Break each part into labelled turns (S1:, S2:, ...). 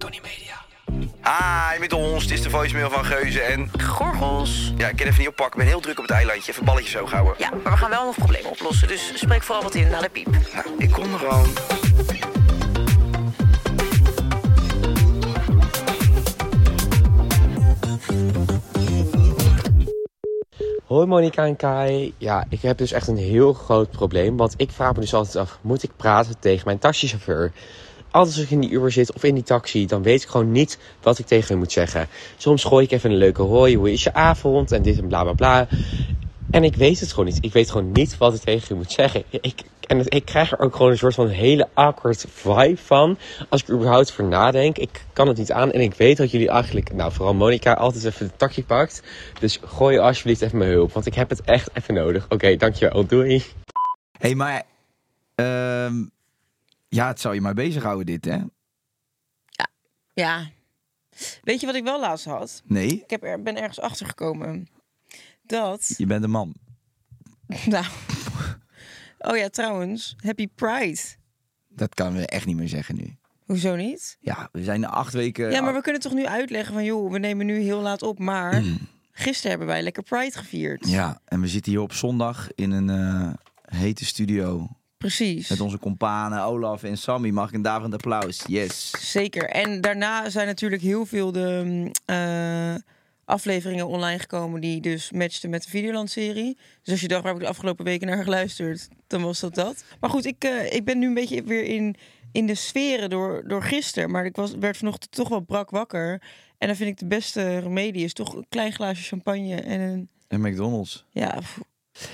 S1: Tony Media. Hi, met ons. Het is de voicemail van Geuze en...
S2: Gorgels.
S1: Ja, ik kan even niet oppakken. Ik ben heel druk op het eilandje. Even balletjes zo houden.
S2: Ja, maar we gaan wel nog problemen oplossen. Dus spreek vooral wat in naar de piep.
S1: Nou, ik kom er al.
S3: Hoi Monika en Kai. Ja, ik heb dus echt een heel groot probleem. Want ik vraag me dus altijd af: moet ik praten tegen mijn taxichauffeur? Altijd als ik in die Uber zit of in die taxi, dan weet ik gewoon niet wat ik tegen hem moet zeggen. Soms gooi ik even een leuke hoi, hoe is je avond en dit en bla bla bla. En ik weet het gewoon niet. Ik weet gewoon niet wat ik tegen u moet zeggen. Ik, en het- ik krijg er ook gewoon een soort van hele awkward vibe van. Als ik er überhaupt voor nadenk. Ik kan het niet aan. En ik weet dat jullie eigenlijk, nou vooral Monica, altijd even de takje pakt. Dus gooi alsjeblieft even mijn hulp. Want ik heb het echt even nodig. Oké, dankjewel. Doei.
S4: Hé, hey, maar... ehm, ja, het zou je maar bezighouden dit, hè?
S5: Ja. Weet je wat ik wel laatst had?
S4: Nee,
S5: Ik heb er, ben ergens achter gekomen dat.
S4: je bent een man.
S5: Nou. Oh ja, trouwens, Happy Pride.
S4: Dat kan we echt niet meer zeggen nu.
S5: Hoezo niet?
S4: Ja, we zijn acht weken...
S5: Ja, maar we kunnen toch nu uitleggen van joh, we nemen nu heel laat op, maar gisteren hebben wij lekker Pride gevierd.
S4: Ja, en we zitten hier op zondag in een eh, hete studio.
S5: Precies.
S4: Met onze companen Olaf en Sammy. Mag ik een daverend applaus? Yes.
S5: Zeker. En daarna zijn natuurlijk heel veel de mm, eh, afleveringen online gekomen die dus matchten met de Videoland-serie. Dus als je dacht, waar heb ik de afgelopen weken naar geluisterd, dan was dat dat. Maar goed, ik, eh, ik ben nu een beetje weer in, in de sferen door, door gisteren. Maar ik was, werd vanochtend toch wel brak wakker. En dan vind ik de beste remedie is toch een klein glaasje champagne en een...
S4: En McDonald's.
S5: Ja, pff,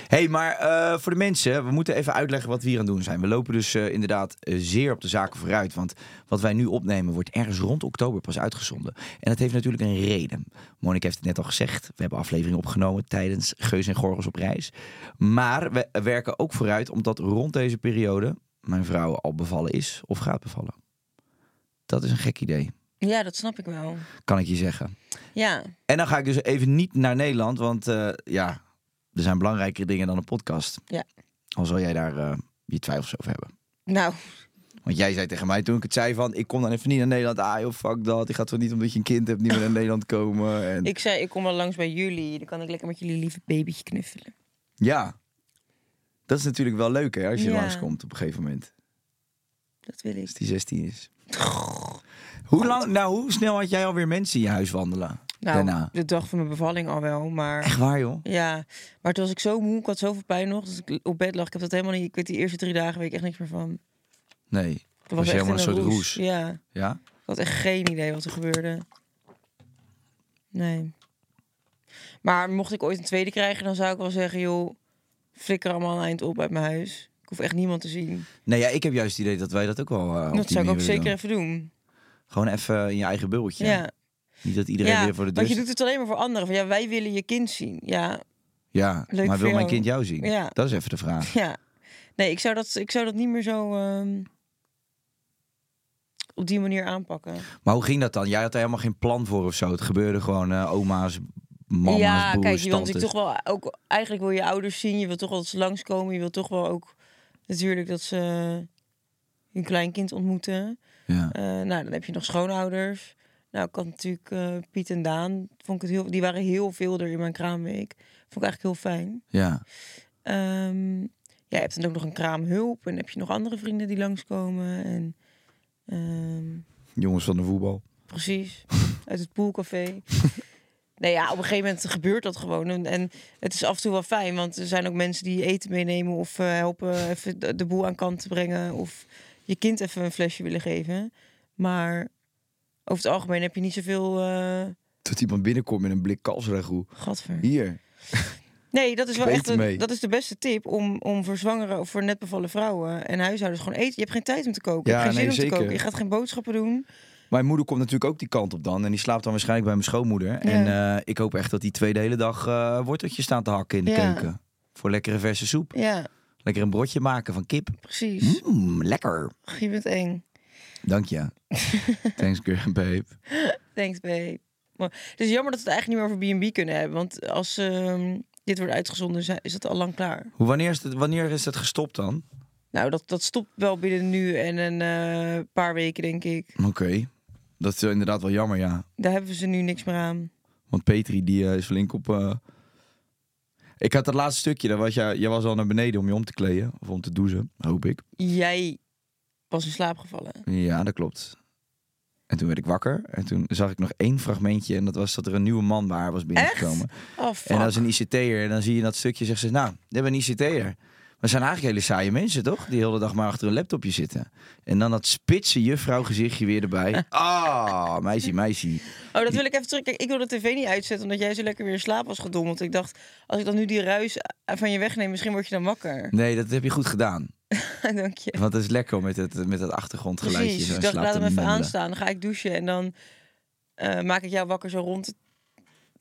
S4: Hé, hey, maar eh, voor de mensen, we moeten even uitleggen wat we hier aan het doen zijn. We lopen dus eh, inderdaad eh, zeer op de zaken vooruit. Want wat wij nu opnemen wordt ergens rond oktober pas uitgezonden. En dat heeft natuurlijk een reden. Monika heeft het net al gezegd. We hebben afleveringen opgenomen tijdens Geus en Gorgels op reis. Maar we werken ook vooruit omdat rond deze periode mijn vrouw al bevallen is of gaat bevallen. Dat is een gek idee,
S5: ja, dat snap ik wel.
S4: kan ik je zeggen.
S5: Ja,
S4: En dan ga ik dus even niet naar Nederland, want eh, ja, er zijn belangrijkere dingen dan een podcast.
S5: Ja.
S4: Al zal jij daar eh, je twijfels over hebben.
S5: nou,
S4: Want jij zei tegen mij toen ik het zei van, ik kom dan even niet naar Nederland. Ah joh, fuck dat. Ik ga toch niet omdat je een kind hebt niet meer naar Nederland komen. En...
S5: ik zei, ik kom wel langs bij jullie. Dan kan ik lekker met jullie lieve babytje knuffelen.
S4: Ja. Dat is natuurlijk wel leuk hè, als je
S5: Ja.
S4: langskomt op een gegeven moment.
S5: Dat wil ik.
S4: Als die 16 is. Hoe, lang, nou, hoe snel had jij alweer mensen in je huis wandelen?
S5: Nou,
S4: Daarna.
S5: de dag van mijn bevalling al wel, maar...
S4: Echt waar joh.
S5: Ja, maar toen was ik zo moe, ik had zoveel pijn nog, dat ik op bed lag. Ik heb dat helemaal niet, ik weet die eerste drie dagen weet ik echt niks meer van.
S4: Nee.
S5: Dat
S4: was je helemaal een soort roes.
S5: Ja, ik
S4: Ja.
S5: had echt geen idee wat er gebeurde. Nee. Maar mocht ik ooit een tweede krijgen, dan zou ik wel zeggen, joh, flikker allemaal een eind op uit mijn huis. Ik hoef echt niemand te zien.
S4: Nee, ja, ik heb juist het idee dat wij dat ook wel eh, op
S5: dat
S4: die
S5: zou ik ook
S4: manier willen
S5: zeker
S4: doen.
S5: even doen.
S4: Gewoon even in je eigen bubbeltje.
S5: Ja. ja.
S4: Niet dat iedereen weer voor de deur
S5: want je
S4: staat.
S5: doet het alleen maar voor anderen. Van, ja, wij willen je kind zien. Ja,
S4: Ja,
S5: Leuk
S4: maar
S5: voor
S4: wil mijn
S5: jou.
S4: kind jou zien?
S5: Ja.
S4: Dat is even de vraag.
S5: Ja. Nee, ik zou dat, ik zou dat niet meer zo ehm, op die manier aanpakken.
S4: Maar hoe ging dat dan? Jij had daar helemaal geen plan voor of zo. Het gebeurde gewoon eh, oma's, mama's,
S5: ja,
S4: broers,
S5: kijk, je wil
S4: tantes.
S5: natuurlijk toch wel ook. Eigenlijk wil je ouders zien. Je wil toch wel dat ze langskomen. Je wil toch wel ook natuurlijk dat ze hun kleinkind ontmoeten.
S4: Ja.
S5: Eh, nou, dan heb je nog schoonouders. Nou, ik had natuurlijk eh, Piet en Daan. Vond ik het heel, die waren heel veel er in mijn kraamweek. Vond ik eigenlijk heel fijn.
S4: ja.
S5: Ehm, ja, je hebt dan ook nog een kraamhulp. En heb je nog andere vrienden die langskomen. En, ehm,
S4: Jongens van de voetbal.
S5: Precies. Uit het poolcafé. nou ja, op een gegeven moment gebeurt dat gewoon. En, en het is af en toe wel fijn, want er zijn ook mensen die eten meenemen of eh, helpen even de de boel aan kant te brengen. Of je kind even een flesje willen geven. Maar over het algemeen heb je niet zoveel eh
S4: Dat iemand binnenkomt met een blik kalfsragout.
S5: gadver.
S4: Hier.
S5: Nee, dat is wel
S4: Beter
S5: echt een,
S4: mee.
S5: dat is de beste tip om, om voor zwangere of voor net bevallen vrouwen en huishoudens gewoon eten. Je hebt geen tijd om te koken. je
S4: Ja,
S5: hebt geen
S4: nee,
S5: zin om
S4: zeker.
S5: te koken. Je gaat geen boodschappen doen.
S4: Mijn moeder komt natuurlijk ook die kant op dan. En die slaapt dan waarschijnlijk bij mijn schoonmoeder. En eh, ik hoop echt dat die twee de hele dag eh worteltjes staan te hakken in de
S5: Ja.
S4: keuken. Voor lekkere verse soep.
S5: Ja,
S4: Lekker een broodje maken van kip.
S5: precies.
S4: Mm, lekker.
S5: Ach, je bent eng.
S4: Dank je. Thanks, girl, babe.
S5: Thanks, babe. Maar het is jammer dat we het eigenlijk niet meer over B&B kunnen hebben. Want als ehm, dit wordt uitgezonden, zijn- is dat al lang klaar.
S4: Hoe, wanneer, is het, wanneer is dat gestopt dan?
S5: Nou, dat, dat stopt wel binnen nu en een eh, paar weken, denk ik.
S4: Oké. Dat is wel inderdaad wel jammer, ja.
S5: Daar hebben ze nu niks meer aan.
S4: Want Petri, die eh, is flink op... eh, Ik had dat laatste stukje, daar was jij, jij was al naar beneden om je om te kleden. Of om te douchen, hoop ik.
S5: Jij was in slaap gevallen.
S4: Ja, dat klopt. En toen werd ik wakker en toen zag ik nog één fragmentje. En dat was dat er een nieuwe man bij haar was binnengekomen.
S5: Oh, fuck.
S4: En als een ICT'er, en dan zie je dat stukje, zegt ze, nou, we hebben een ICT'er. Maar het zijn eigenlijk hele saaie mensen, toch? Die de hele dag maar achter een laptopje zitten. En dan dat spitse juffrouwgezichtje weer erbij. Ah, meisje, meisje.
S5: Oh, dat wil ik even terug. Kijk, ik wil de tv niet uitzetten omdat jij zo lekker weer in slaap was gedommeld. Ik dacht, als ik dan nu die ruis van je wegneem, misschien word je dan wakker.
S4: Nee, dat heb je goed gedaan.
S5: Dank je.
S4: Want het is lekker om met het, met dat achtergrondgeluidje
S5: Precies,
S4: zo
S5: dus
S4: in
S5: ik dacht,
S4: slaap
S5: laat
S4: te
S5: hem even
S4: mommelen.
S5: aanstaan. Dan ga ik douchen en dan eh, maak ik jou wakker zo rond het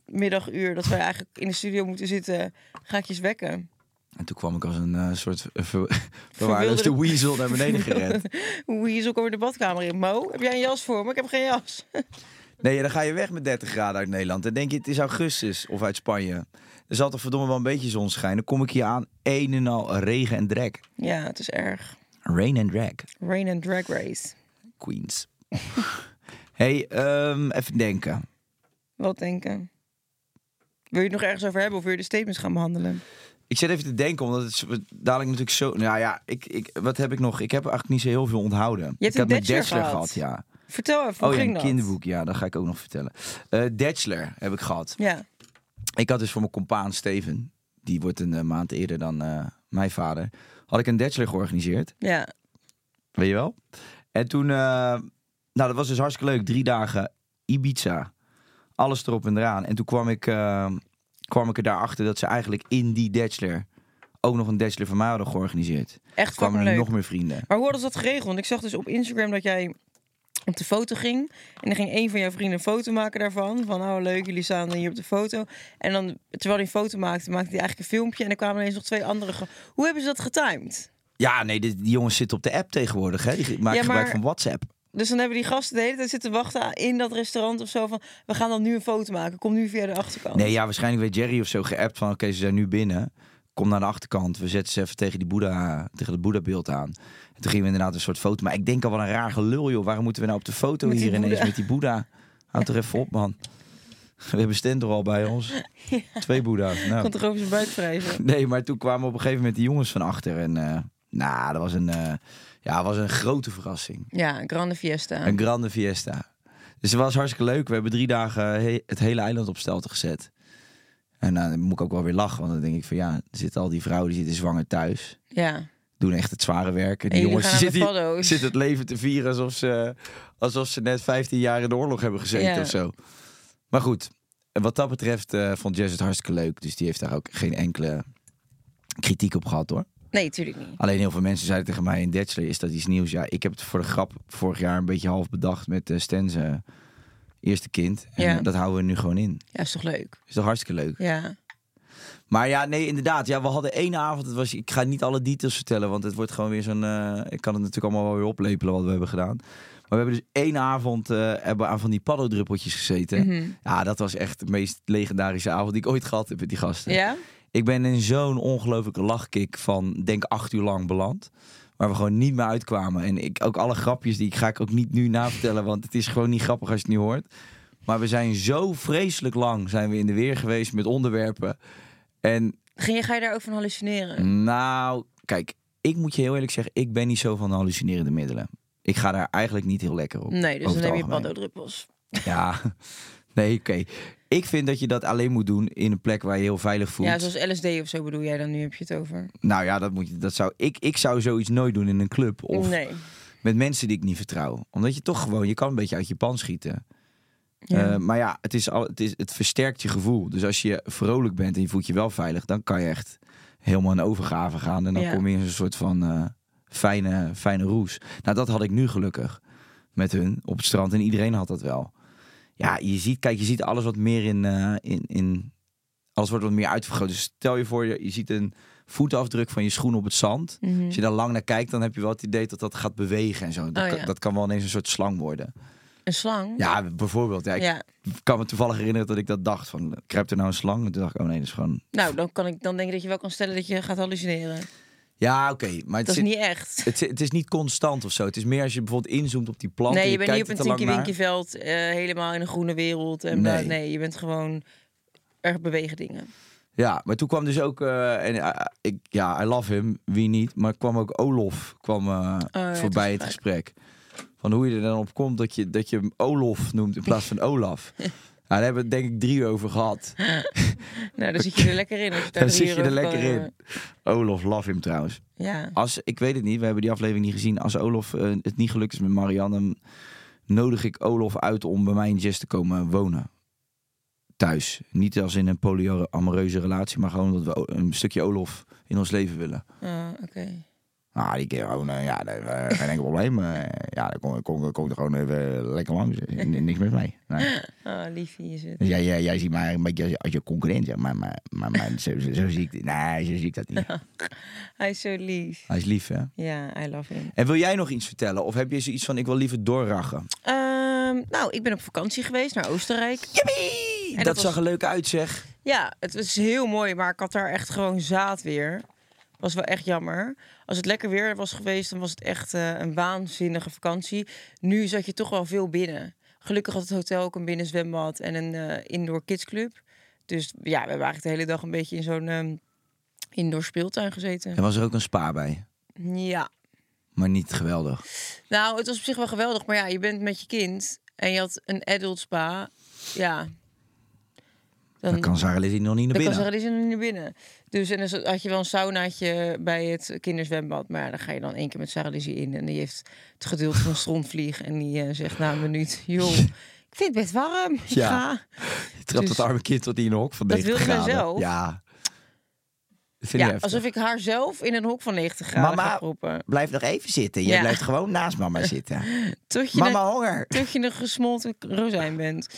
S5: middaguur... dat wij eigenlijk in de studio moeten zitten. Ga ik je eens wekken.
S4: En toen kwam ik als een eh, soort eh, ver, verwaarloosde weasel naar beneden gerend.
S5: Weasel, kom weer de badkamer in. Mo, heb jij een jas voor me? Ik heb geen jas.
S4: Nee, ja, dan ga je weg met 30 graden uit Nederland. Dan denk je, het is augustus of uit Spanje. Er zal toch verdomme wel een beetje zonschijn. Dan kom ik hier aan, een en al regen en drag.
S5: ja, het is erg.
S4: Rain and drag.
S5: Rain and Drag Race.
S4: Queens. hey, ehm, even denken.
S5: Wat denken? Wil je het nog ergens over hebben of wil je de statements gaan behandelen?
S4: Ik zit even te denken, omdat het is dadelijk natuurlijk zo... Nou ja, ik, ik, wat heb ik nog? Ik heb eigenlijk niet zo heel veel onthouden.
S5: Je
S4: ik
S5: hebt
S4: had
S5: een
S4: mijn
S5: bachelor
S4: bachelor
S5: gehad.
S4: ja.
S5: Vertel even, hoe
S4: oh ja,
S5: ging
S4: een
S5: dat?
S4: kinderboek, ja, dat ga ik ook nog vertellen. Eh bachelor heb ik gehad.
S5: Ja,
S4: Ik had dus voor mijn compaan Steven, die wordt een eh, maand eerder dan eh, mijn vader, had ik een bachelor georganiseerd.
S5: ja.
S4: Weet je wel? En toen, eh, nou dat was dus hartstikke leuk. Drie dagen Ibiza. Alles erop en eraan. En toen kwam ik, eh, kwam ik er daarachter dat ze eigenlijk in die bachelor ook nog een bachelor van mij hadden georganiseerd. kwamen
S5: Echt fucking
S4: er
S5: leuk.
S4: nog meer vrienden.
S5: Maar hoe hadden ze dat geregeld? Want ik zag dus op Instagram dat jij op de foto ging. En dan ging een van jouw vrienden een foto maken daarvan. Van, oh leuk, jullie staan dan hier op de foto. En dan, terwijl hij een foto maakte, maakte hij eigenlijk een filmpje. En dan kwamen ineens nog twee andere. ge- Hoe hebben ze dat getimed?
S4: Ja, nee, die, die jongens zitten op de app tegenwoordig. Hè? Die ge- maken
S5: Ja, maar-
S4: gebruik van WhatsApp.
S5: Dus dan hebben die gasten de hele tijd zitten wachten in dat restaurant of zo. Van, we gaan dan nu een foto maken. Kom nu via de achterkant.
S4: Nee, ja, waarschijnlijk werd Jerry of zo geappt van... oké, ze zijn nu binnen. Kom naar de achterkant. We zetten ze even tegen, die Boeddha, tegen het Boeddha-beeld aan. En toen gingen we inderdaad een soort foto... Maar ik denk al wel een raar gelul, joh. Waarom moeten we nou op de foto
S5: Met die
S4: hier ineens
S5: Boeddha.
S4: met die Boeddha? Houd er even op, man. We hebben Sten er al bij ons. Twee Boeddha's. Nou.
S5: Kan toch over zijn buik wrijven?
S4: Nee, maar toen kwamen op een gegeven moment die jongens van achter. En eh, nou, dat was een, eh, ja, dat was een grote verrassing.
S5: Ja, Grande Fiesta.
S4: Een grande fiesta. Dus het was hartstikke leuk. We hebben drie dagen he- het hele eiland op stelte gezet. En nou, dan moet ik ook wel weer lachen. Want dan denk ik van ja, er zitten al die vrouwen die zitten zwanger thuis.
S5: Ja.
S4: Doen echt het zware werk. En die
S5: En jullie
S4: jongens die
S5: gaan aan de
S4: zitten, hier-
S5: paddo's.
S4: zitten het leven te vieren alsof ze, alsof ze net 15 jaar in de oorlog hebben gezeten
S5: Ja.
S4: of zo. Maar goed, en wat dat betreft eh, vond Jess het hartstikke leuk. Dus die heeft daar ook geen enkele kritiek op gehad hoor.
S5: Nee, tuurlijk niet.
S4: Alleen heel veel mensen zeiden tegen mij in Bachelor is dat iets nieuws. Ja, ik heb het voor de grap vorig jaar een beetje half bedacht met eh Stens eh, eerste kind. En
S5: Ja.
S4: eh, dat houden we nu gewoon in.
S5: Ja, is toch leuk?
S4: Is toch hartstikke leuk.
S5: Ja.
S4: Maar ja, nee, inderdaad. Ja, we hadden één avond. Het was, ik ga niet alle details vertellen, want het wordt gewoon weer zo'n... eh, ik kan het natuurlijk allemaal wel weer oplepelen wat we hebben gedaan. Maar we hebben dus één avond eh, hebben we aan van die paddodruppeltjes gezeten. Ja, dat was echt de meest legendarische avond die ik ooit gehad heb met die gasten.
S5: Ja?
S4: Ik ben in zo'n ongelofelijke lachkick van denk acht uur lang beland. Waar we gewoon niet meer uitkwamen. En ik, ook alle grapjes die ik ga ik ook niet nu navertellen. Want het is gewoon niet grappig als je het nu hoort. Maar we zijn zo vreselijk lang zijn we in de weer geweest met onderwerpen. En
S5: Ging je, ga je daar ook van hallucineren?
S4: nou, Kijk, ik moet je heel eerlijk zeggen, ik ben niet zo van hallucinerende middelen. Ik ga daar eigenlijk niet heel lekker op.
S5: Nee,
S4: over
S5: dus
S4: het
S5: dan neem je
S4: algemeen.
S5: pando-druppels.
S4: Ja, nee, oké. Ik vind dat je dat alleen moet doen in een plek waar je heel veilig voelt.
S5: Ja, zoals LSD of zo bedoel jij dan nu, heb je het over.
S4: Nou ja, dat, moet je, dat zou ik. Ik zou zoiets nooit doen in een club of
S5: Nee.
S4: met mensen die ik niet vertrouw, omdat je toch gewoon je kan een beetje uit je pan schieten.
S5: Ja.
S4: Eh, maar ja, het, is al, het, is, het versterkt je gevoel. Dus als je vrolijk bent en je voelt je wel veilig, dan kan je echt helemaal in overgave gaan. En dan
S5: Ja.
S4: kom je in zo'n soort van eh, fijne, fijne roes. Nou, dat had ik nu gelukkig met hun op het strand. En iedereen had dat wel. Ja, je ziet, kijk, je ziet alles wat meer in. eh, in, in alles wordt wat meer uitvergroot. Dus stel je voor, je, je ziet een voetafdruk van je schoen op het zand.
S5: Mhm.
S4: Als je daar lang naar kijkt, dan heb je wel het idee dat dat gaat bewegen en zo. Dat,
S5: Oh,
S4: kan,
S5: ja.
S4: dat kan wel ineens een soort slang worden.
S5: Een slang?
S4: Ja, bijvoorbeeld. Ja, ik
S5: Ja.
S4: kan me toevallig herinneren dat ik dat dacht. Van, kruipt er nou een slang? En toen dacht ik, oh nee, dat is gewoon...
S5: Nou, dan, kan ik, dan denk ik dat je wel kan stellen dat je gaat hallucineren.
S4: Ja, oké. maar het
S5: Dat is
S4: zit-
S5: niet echt.
S4: Het, zit- het is niet constant of zo. Het is meer als je bijvoorbeeld inzoomt op die plant. en
S5: Nee, je bent niet op
S4: kijkt
S5: een
S4: er te lang
S5: Tinky
S4: naar.
S5: Winky veld, eh, helemaal in een groene wereld. En
S4: Nee.
S5: nee. nee, je bent gewoon erg bewegen dingen.
S4: Ja, maar toen kwam dus ook... eh, en, eh, ik, ja, I love him. Wie niet? Maar kwam ook Olof kwam, eh,
S5: Oh, ja,
S4: voorbij het
S5: het
S4: gesprek. Van hoe je er dan op komt dat je, dat je hem Olof noemt in plaats van Olaf. nou, daar hebben we het denk ik drie uur over gehad.
S5: Nou, daar zit je er lekker in. Als je daar
S4: Daar
S5: drie
S4: zit je
S5: uur
S4: er
S5: over
S4: lekker
S5: kan
S4: in.
S5: hebben.
S4: Olof, love him trouwens.
S5: Ja.
S4: Als, ik weet het niet, we hebben die aflevering niet gezien. Als Olof eh, het niet gelukt is met Marianne, dan nodig ik Olof uit om bij mij in Jess te komen wonen. Thuis. Niet als in een polyamoreuze relatie, maar gewoon dat we o- een stukje Olof in ons leven willen.
S5: Ah, Oké.
S4: Nou, die keer gewoon, eh, ja, dat is, eh, geen enkel probleem. eh, ja, dan kom, kom, kom ik er gewoon even lekker langs. N- niks met mij. Nee.
S5: Ah, liefie is het.
S4: Dus jij, jij, jij ziet mij een beetje als, als je concurrent, zeg maar. Maar, maar, maar zo, zo, zo zie ik, nee, zo zie ik dat niet.
S5: Hij is zo lief.
S4: Hij is lief, hè?
S5: Ja, I love him.
S4: En wil jij nog iets vertellen? Of heb je zoiets van, ik wil liever doorrachen?
S5: Ehm, nou, ik ben op vakantie geweest naar Oostenrijk.
S4: dat
S5: dat was-
S4: zag er leuk uit, zeg.
S5: Ja, het was heel mooi, maar ik had daar echt gewoon zaad weer. Was wel echt jammer. Als het lekker weer was geweest, dan was het echt eh, een waanzinnige vakantie. Nu zat je toch wel veel binnen. Gelukkig had het hotel ook een binnenzwembad en een eh, indoor kidsclub. Dus ja, we hebben eigenlijk de hele dag een beetje in zo'n ehm, indoor speeltuin gezeten.
S4: Er was er ook een spa bij,
S5: Ja.
S4: maar niet geweldig.
S5: Nou, het was op zich wel geweldig, maar ja, je bent met je kind en je had een adult spa. Ja.
S4: Dan kan Sarah Lizzie nog niet naar
S5: Dan kan
S4: binnen.
S5: zeggen, die is er nu niet binnen. Dus en dan had je wel een saunaatje bij het kinderzwembad. Maar ja, dan ga je dan één keer met Sarah Lizzie in. En die heeft het geduld van een strontvlieg. En die eh, zegt na een minuut... joh, ik vind het best warm. Ik
S4: Ja.
S5: ga.
S4: Je trapt
S5: dus-
S4: dat arme kind tot in een hok van
S5: Dat
S4: 90
S5: wilde zij
S4: graden.
S5: zelf.
S4: Ja. Dat vind ik
S5: Ja,
S4: heftig.
S5: alsof ik haar zelf in een hok van 90 graden
S4: Mama.
S5: ga proppen.
S4: Blijf nog even zitten. Jij
S5: Ja.
S4: blijft gewoon naast mama zitten.
S5: Tot je
S4: mama
S5: een-
S4: honger.
S5: tot je een gesmolten rozijn bent.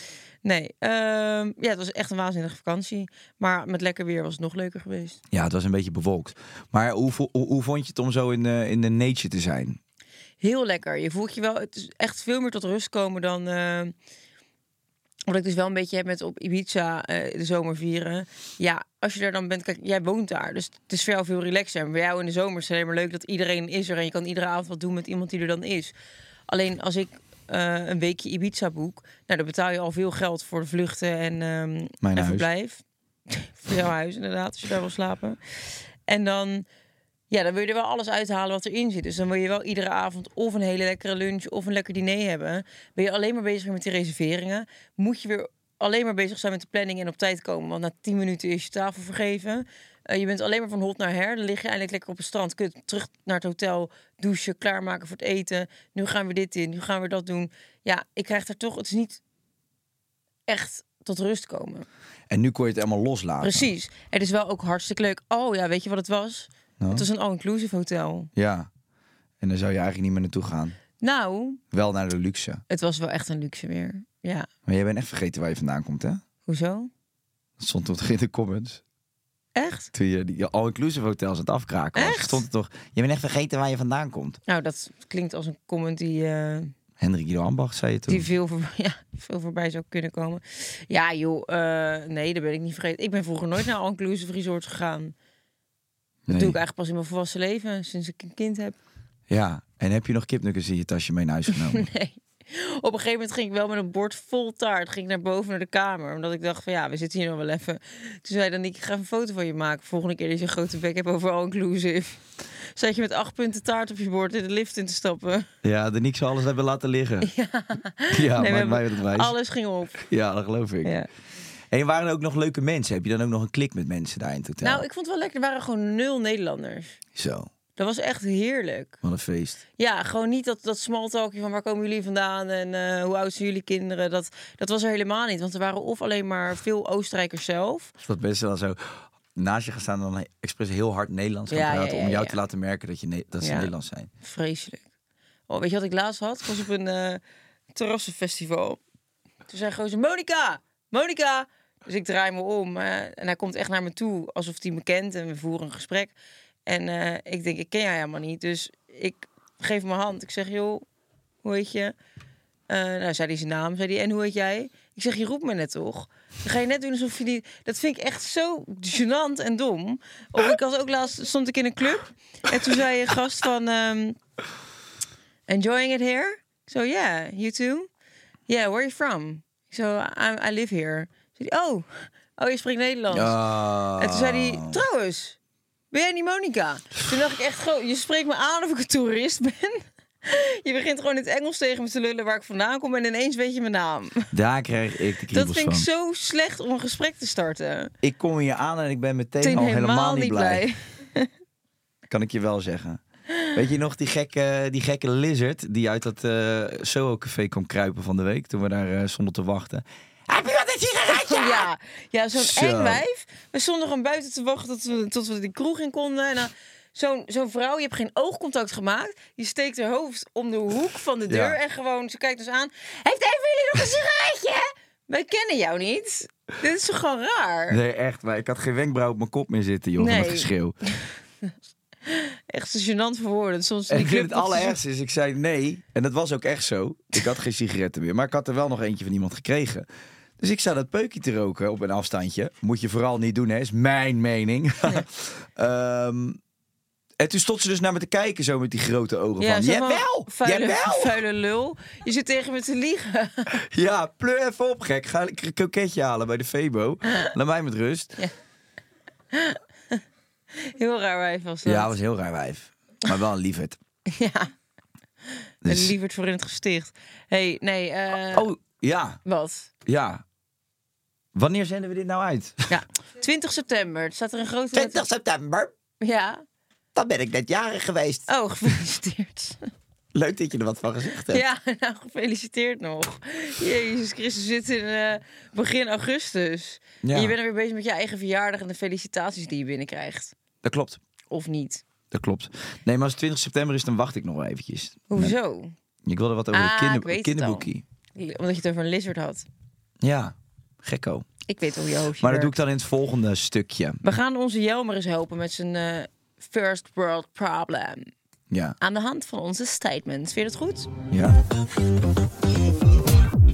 S5: Nee, ehm, ja, het was echt een waanzinnige vakantie. Maar met lekker weer was het nog leuker geweest.
S4: Ja, het was een beetje bewolkt. Maar hoe, vo- hoe, hoe vond je het om zo in de, in de nature te zijn?
S5: heel lekker. Je voelt je wel, het is echt veel meer tot rust komen dan. eh, wat ik dus wel een beetje heb met op Ibiza eh, de zomer vieren. Ja, als je daar dan bent, kijk, jij woont daar. Dus het is voor jou veel relaxer. En bij jou in de zomer is het alleen maar leuk dat iedereen is er. En je kan iedere avond wat doen met iemand die er dan is. Alleen als ik eh, een weekje Ibiza boek, nou, dan betaal je al veel geld voor de vluchten en, ehm
S4: Mijn
S5: en
S4: huis.
S5: verblijf. voor jouw huis, inderdaad, als je daar wil slapen. En dan, ja, dan wil je er wel alles uithalen wat erin zit. Dus dan wil je wel iedere avond of een hele lekkere lunch of een lekker diner hebben. Ben je alleen maar bezig met die reserveringen, moet je weer alleen maar bezig zijn met de planning en op tijd komen. Want na 10 minuten is je tafel vergeven. Eh, je bent alleen maar van hot naar her. Dan lig je eindelijk lekker op het strand. Kut, terug naar het hotel, douchen, klaarmaken voor het eten. Nu gaan we dit in, nu gaan we dat doen. Ja, ik krijg daar toch, het is niet echt tot rust komen.
S4: En nu kon je het helemaal loslaten.
S5: Precies. Het is wel ook hartstikke leuk. Oh ja, weet je wat het was?
S4: Nou?
S5: Het was een all-inclusive hotel.
S4: Ja. En dan zou je eigenlijk niet meer naartoe gaan.
S5: Nou,
S4: Wel naar de luxe.
S5: het was wel echt een luxe weer. Ja,
S4: Maar jij bent echt vergeten waar je vandaan komt, hè?
S5: hoezo?
S4: Dat stond toch in de comments?
S5: Echt?
S4: Toen je die all-inclusive hotels aan het afkraken was, stond het toch... Je bent echt vergeten waar je vandaan komt.
S5: Nou, dat klinkt als een comment die, eh,
S4: Hendrik Ido Ambach zei je toen.
S5: die veel, voor, ja, veel voorbij zou kunnen komen. Ja, joh, eh, nee, dat ben ik niet vergeten. Ik ben vroeger nooit naar all-inclusive resorts gegaan. Dat
S4: Nee.
S5: doe ik eigenlijk pas in mijn volwassen leven, sinds ik een kind heb.
S4: Ja, en heb je nog kipnuggets in je tasje mee naar huis genomen?
S5: Nee. Op een gegeven moment ging ik wel met een bord vol taart ging ik naar boven naar de kamer. Omdat ik dacht van ja, we zitten hier nog wel even. Toen zei dan ik ga een foto van je maken. Volgende keer dat je een grote bek hebt over all inclusive. Zat je met acht punten taart op je bord in de lift in te stappen.
S4: Ja, de niks alles hebben laten liggen. Ja, ja
S5: Nee, we
S4: maakt mij wat
S5: hebben-
S4: wijs.
S5: alles ging op.
S4: Ja, dat geloof ik.
S5: Ja.
S4: En waren er ook nog leuke mensen? Heb je dan ook nog een klik met mensen daar in het hotel?
S5: Nou, ik vond het wel lekker. Er waren gewoon nul Nederlanders.
S4: Zo,
S5: Dat was echt heerlijk.
S4: wat een feest.
S5: Ja, gewoon niet dat, dat small talkje van waar komen jullie vandaan en eh, hoe oud zijn jullie kinderen. Dat, dat was er helemaal niet. Want er waren of alleen maar veel Oostenrijkers zelf.
S4: Is dat mensen dan zo naast je gaan staan en dan expres heel hard Nederlands gaan
S5: Ja, ja,
S4: praten...
S5: ja,
S4: om jou
S5: ja.
S4: te laten merken dat, je Ne- dat ze
S5: Ja.
S4: Nederlands zijn?
S5: Vreselijk. Oh, weet je wat ik laatst had? Ik was op een eh, terrassenfestival. Toen zei gozer, Monika, Monika. Dus ik draai me om eh, en hij komt echt naar me toe alsof hij me kent en we voeren een gesprek. En eh, ik denk, ik ken jij helemaal niet. Dus ik geef mijn hand. Ik zeg, joh, hoe heet je? Eh, nou, zei hij zijn naam. Zei hij, en hoe heet jij? Ik zeg, je roept me net toch? Dan ga je net doen alsof je die... Dat vind ik echt zo gênant en dom. Of ik was ook laatst, stond ik in een club. En toen zei een gast van... ehm, enjoying it here? So yeah, you too? Yeah, where are you from? So I, I live here. Zei hij, oh, oh, je spreekt Nederlands.
S4: Ah.
S5: En toen zei hij, trouwens, ben jij niet Monica? Toen dacht ik echt, goh, je spreekt me aan of ik een toerist ben. Je begint gewoon in het Engels tegen me te lullen waar ik vandaan kom en ineens weet je mijn naam.
S4: Daar krijg ik de
S5: Dat
S4: kriebels
S5: vind
S4: van.
S5: ik zo slecht om een gesprek te starten.
S4: Ik kom hier aan en ik ben meteen
S5: Ik ben
S4: al helemaal niet blij. Kan ik je wel zeggen. Weet je nog die gekke, die gekke lizard die uit dat eh, Soho Café kwam kruipen van de week toen we daar eh, stonden te wachten? Heb je wat een sigaretje?
S5: Ja, ja zo'n
S4: Zo.
S5: eng wijf. We stonden gewoon buiten te wachten tot we, tot we de kroeg in konden. En dan zo'n zo'n vrouw, je hebt geen oogcontact gemaakt. Je steekt haar hoofd om de hoek van de deur
S4: Ja.
S5: en gewoon, ze kijkt ons aan. Heeft een van jullie nog een sigaretje? Wij kennen jou niet. Dit is toch gewoon raar?
S4: Nee, echt. Maar ik had geen wenkbrauw op mijn kop meer zitten, joh, van
S5: Nee.
S4: het geschreeuw.
S5: Echt zo gênant voor woorden. Soms
S4: En
S5: in die
S4: ik vind het
S5: club dat ze-
S4: allerergste is, ik zei nee. En dat was ook echt zo. Ik had geen sigaretten meer, maar ik had er wel nog eentje van iemand gekregen. Dus ik zou dat peukje te roken op een afstandje. Moet je vooral niet doen, hè? Is mijn mening. Ehm, en toen stond ze dus naar me te kijken, zo met die grote ogen
S5: Ja,
S4: van...
S5: zeg maar,
S4: Jawel!
S5: Vuile,
S4: Jawel!
S5: vuile lul. Je zit tegen me te liegen.
S4: Ja, pleur even op, gek. Ga een kroketje halen bij de Febo. Laat mij met rust.
S5: Heel raar wijf was dat.
S4: Ja, was een heel raar wijf. Maar wel een lieverd.
S5: Ja.
S4: Dus-
S5: Een lieverd voor in het gesticht. hey, nee, eh,
S4: Oh, ja,
S5: wat?
S4: ja. Wanneer zenden we dit nou uit?
S5: Ja, 20 september. Er staat er een grote... letter-
S4: september.
S5: Ja.
S4: Dan ben ik net jarig geweest.
S5: Oh, gefeliciteerd.
S4: Leuk dat je er wat van gezegd hebt.
S5: Ja, nou, gefeliciteerd nog. Jezus Christus, we zitten in eh, begin augustus.
S4: Ja.
S5: En je bent weer bezig met je eigen verjaardag en de felicitaties die je binnenkrijgt.
S4: Dat klopt.
S5: Of niet.
S4: Dat klopt. Nee, maar als het 20 september is, dan wacht ik nog wel eventjes.
S5: Hoezo?
S4: Ik wilde wat over
S5: Ah,
S4: het
S5: ik weet
S4: kinder,
S5: het
S4: kinderboekie.
S5: Omdat je het over een lizard had.
S4: Ja, gekko.
S5: Ik weet hoe je hoofdje
S4: Maar dat doe ik
S5: werkt.
S4: dan in het volgende stukje.
S5: We gaan onze Jelmer eens helpen met zijn eh, first world problem.
S4: Ja.
S5: Aan de hand van onze statements. Vind je dat goed?
S4: ja.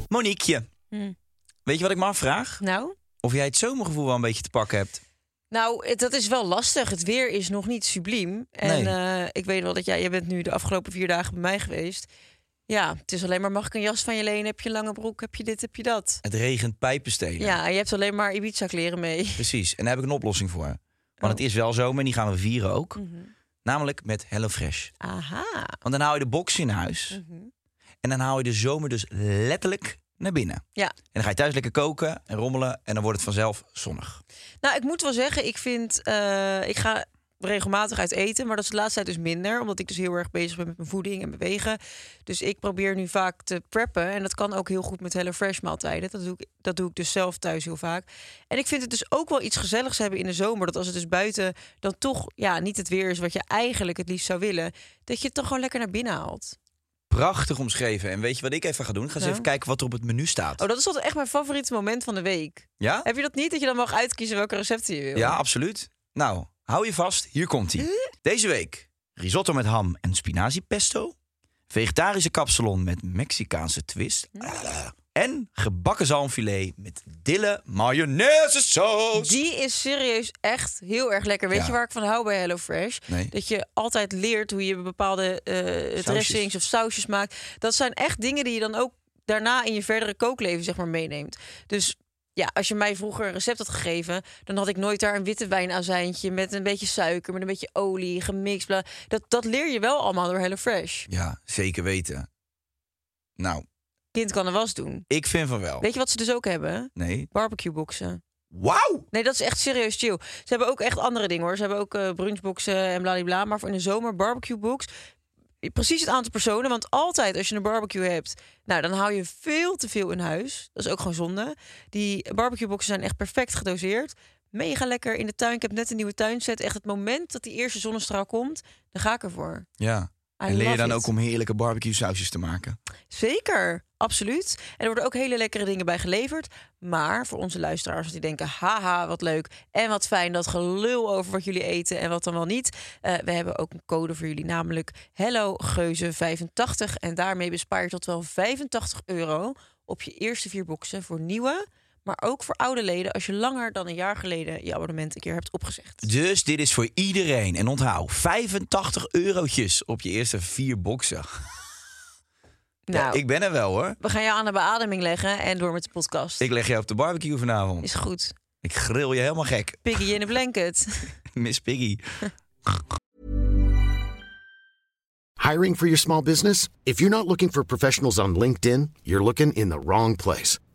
S1: Moniqueje,
S5: Hmm.
S1: weet je wat ik me afvraag?
S5: Nou?
S1: Of jij het zomergevoel wel een beetje te pakken hebt.
S5: Nou, het- dat is wel lastig. Het weer is nog niet subliem. En eh, ik weet wel dat jij, jij bent nu de afgelopen vier dagen bij mij geweest. Ja, het is alleen maar mag ik een jas van je lenen? Heb je een lange broek? Heb je dit? Heb je dat?
S1: Het regent pijpenstelen.
S5: Ja, en je hebt alleen maar Ibiza kleren mee.
S1: Precies, en daar heb ik een oplossing voor. Want
S5: Oh.
S1: het is wel zomer en die gaan we vieren ook.
S5: Mhm.
S1: Namelijk met HelloFresh.
S5: Aha.
S1: Want dan haal je de box in huis.
S5: Mhm.
S1: En dan haal je de zomer dus letterlijk naar binnen.
S5: Ja.
S1: En dan ga je thuis lekker koken en rommelen en dan wordt het vanzelf zonnig.
S5: Nou, ik moet wel zeggen, ik vind, eh, ik ga regelmatig uit eten, maar dat is de laatste tijd dus minder, omdat ik dus heel erg bezig ben met mijn voeding en bewegen. Dus ik probeer nu vaak te preppen en dat kan ook heel goed met HelloFresh maaltijden. Dat doe ik, dat doe ik dus zelf thuis heel vaak. En ik vind het dus ook wel iets gezelligs hebben in de zomer, dat als het dus buiten dan toch ja niet het weer is wat je eigenlijk het liefst zou willen, dat je het dan gewoon lekker naar binnen haalt.
S1: Prachtig omschreven. En weet je wat ik even ga doen? Ik ga eens
S5: Nou?
S1: even kijken wat er op het menu staat.
S5: Oh, dat is altijd echt mijn favoriete moment van de week.
S1: ja?
S5: Heb je dat niet dat je dan mag uitkiezen welke recepten je wil?
S1: Ja, absoluut. Nou, hou je vast. Hier komt hij. Deze week risotto met ham en spinaziepesto. Vegetarische kapsalon met Mexicaanse twist. Ah, En gebakken zalmfilet met dille mayonaise saus.
S5: Die is serieus echt heel erg lekker. Weet
S1: Ja.
S5: je waar ik van hou bij HelloFresh?
S1: Nee.
S5: Dat je altijd leert hoe je bepaalde eh, dressings of sausjes maakt. Dat zijn echt dingen die je dan ook daarna in je verdere kookleven zeg maar meeneemt. Dus ja, als je mij vroeger een recept had gegeven, dan had ik nooit daar een witte wijnazijntje met een beetje suiker, met een beetje olie gemixt. Bla. Dat, dat leer je wel allemaal door HelloFresh.
S1: Ja, zeker weten. Nou,
S5: Kind kan een was doen.
S1: ik vind van wel.
S5: Weet je wat ze dus ook hebben?
S1: Nee.
S5: Barbecueboxen.
S1: Wauw!
S5: Nee, dat is echt serieus chill. Ze hebben ook echt andere dingen hoor. Ze hebben ook eh, brunchboxen en bladibla. Maar voor in de zomer barbecuebox. Precies het aantal personen. Want altijd als je een barbecue hebt, nou dan hou je veel te veel in huis. Dat is ook gewoon zonde. Die barbecueboxen zijn echt perfect gedoseerd. Mega lekker in de tuin. Ik heb net een nieuwe tuinset. Echt het moment dat die eerste zonnestraal komt, daar ga ik ervoor.
S1: Ja.
S5: I
S1: en leer je
S5: love
S1: dan
S5: it.
S1: ook om heerlijke barbecue sausjes te maken?
S5: Zeker, absoluut. En er worden ook hele lekkere dingen bij geleverd. Maar voor onze luisteraars, want die denken: haha, wat leuk en wat fijn dat gelul over wat jullie eten en wat dan wel niet. Eh, we hebben ook een code voor jullie, namelijk HelloGeuze85. En daarmee bespaar je tot wel 85 euro op je eerste vier boxen voor nieuwe. Maar ook voor oude leden als je langer dan een jaar geleden je abonnement een keer hebt opgezegd.
S1: Dus dit is voor iedereen. En onthoud, 85 eurotjes op je eerste vier boxen.
S5: Nou,
S1: Ja, ik ben er wel hoor.
S5: we gaan jou aan de beademing leggen en door met de podcast.
S1: Ik leg je op de barbecue vanavond.
S5: Is goed.
S1: Ik grill je helemaal gek.
S5: Piggy in a blanket.
S1: Miss Piggy.
S6: Hiring for your small business? If you're not looking for professionals on LinkedIn, you're looking in the wrong place.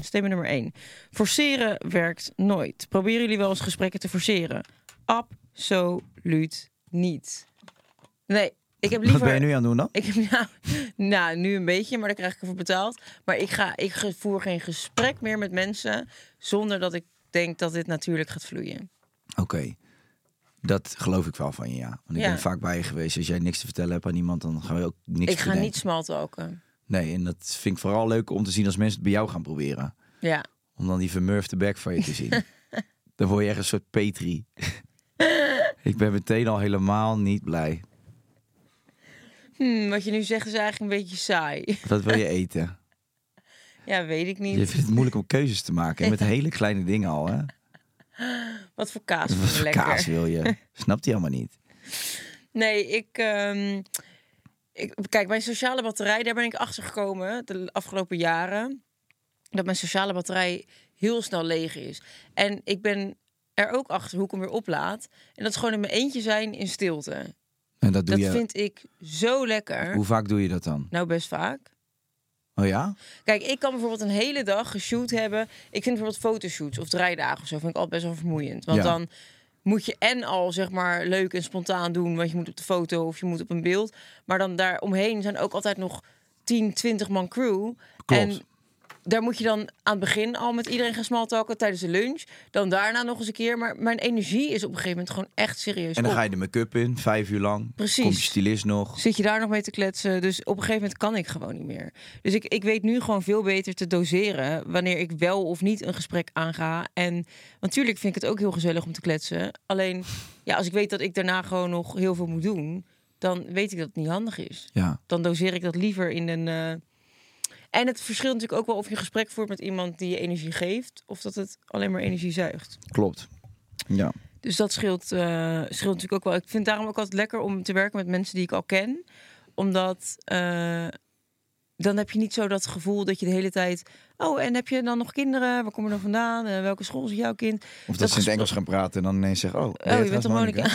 S5: Stemmen nummer 1. Forceren werkt nooit. Proberen jullie wel eens gesprekken te forceren? Absoluut niet. Nee, ik heb liever...
S4: Wat ben je nu aan het doen dan?
S5: Ik heb, nou, nou, nu een beetje, maar daar krijg ik ervoor betaald. Maar ik, ga, ik ge- voer geen gesprek meer met mensen... zonder dat ik denk dat dit natuurlijk gaat vloeien.
S4: Oké. Dat geloof ik wel van je, ja. Want ik
S5: Ja.
S4: ben vaak bij je geweest. Als jij niks te vertellen hebt aan iemand, dan gaan we ook niks
S5: ik ga
S4: bedenken.
S5: niet smaltalken.
S4: Nee, en dat vind ik vooral leuk om te zien als mensen het bij jou gaan proberen.
S5: Ja.
S4: Om dan die vermurfde bek van je te zien. dan word je echt een soort Petri. ik ben meteen al helemaal niet blij.
S5: Hm, wat je nu zegt is eigenlijk een beetje saai.
S4: Wat wil je eten?
S5: Ja, weet ik
S4: Je
S5: niet.
S4: vindt het moeilijk om keuzes te maken. En met hele kleine dingen al, hè?
S5: Wat voor kaas vind
S4: Wat
S5: je
S4: voor
S5: lekker?
S4: kaas wil je? Snapt hij allemaal niet.
S5: Nee, ik, ehm, ik. Kijk, mijn sociale batterij, daar ben ik achter gekomen de afgelopen jaren. Dat mijn sociale batterij heel snel leeg is. En ik ben er ook achter hoe ik hem weer oplaad. En dat is gewoon in mijn eentje zijn in stilte.
S4: En dat doe
S5: dat
S4: je...
S5: vind ik zo lekker.
S4: Hoe vaak doe je dat dan?
S5: Nou, best vaak.
S4: Oh ja?
S5: Kijk, ik kan bijvoorbeeld een hele dag geshoot hebben. Ik vind bijvoorbeeld fotoshoots of draaidagen of zo vind ik altijd best wel vermoeiend. Want
S4: Ja.
S5: dan moet je en al zeg maar leuk en spontaan doen, want je moet op de foto of je moet op een beeld. Maar dan daar omheen zijn ook altijd nog 10, 20 man crew.
S4: Klopt.
S5: En daar moet je dan aan het begin al met iedereen gaan smalltalken tijdens de lunch. Dan daarna nog eens een keer. Maar mijn energie is op een gegeven moment gewoon echt serieus
S4: En dan
S5: op.
S4: ga je de make-up in, vijf uur lang.
S5: Precies.
S4: Komt je stylist nog.
S5: Zit je daar nog mee te kletsen? Dus op een gegeven moment kan ik gewoon niet meer. Dus ik, ik weet nu gewoon veel beter te doseren wanneer ik wel of niet een gesprek aanga. En want natuurlijk vind ik het ook heel gezellig om te kletsen. Alleen ja, als ik weet dat ik daarna gewoon nog heel veel moet doen, dan weet ik dat het niet handig is.
S4: Ja.
S5: Dan doseer ik dat liever in een. eh, En het verschilt natuurlijk ook wel of je een gesprek voert met iemand die je energie geeft, of dat het alleen maar energie zuigt.
S4: Klopt. Ja.
S5: Dus dat scheelt, eh, scheelt natuurlijk ook wel. Ik vind het daarom ook altijd lekker om te werken met mensen die ik al ken. Omdat eh, dan heb je niet zo dat gevoel dat je de hele tijd... Oh, en heb je dan nog kinderen? Waar komen dan vandaan? Eh, welke school is jouw kind?
S4: Of dat, ze in het
S5: gesprek-
S4: Engels gaan praten en dan ineens zeggen... Oh, ben
S5: Oh, je bent
S4: trouwens
S5: een Monica.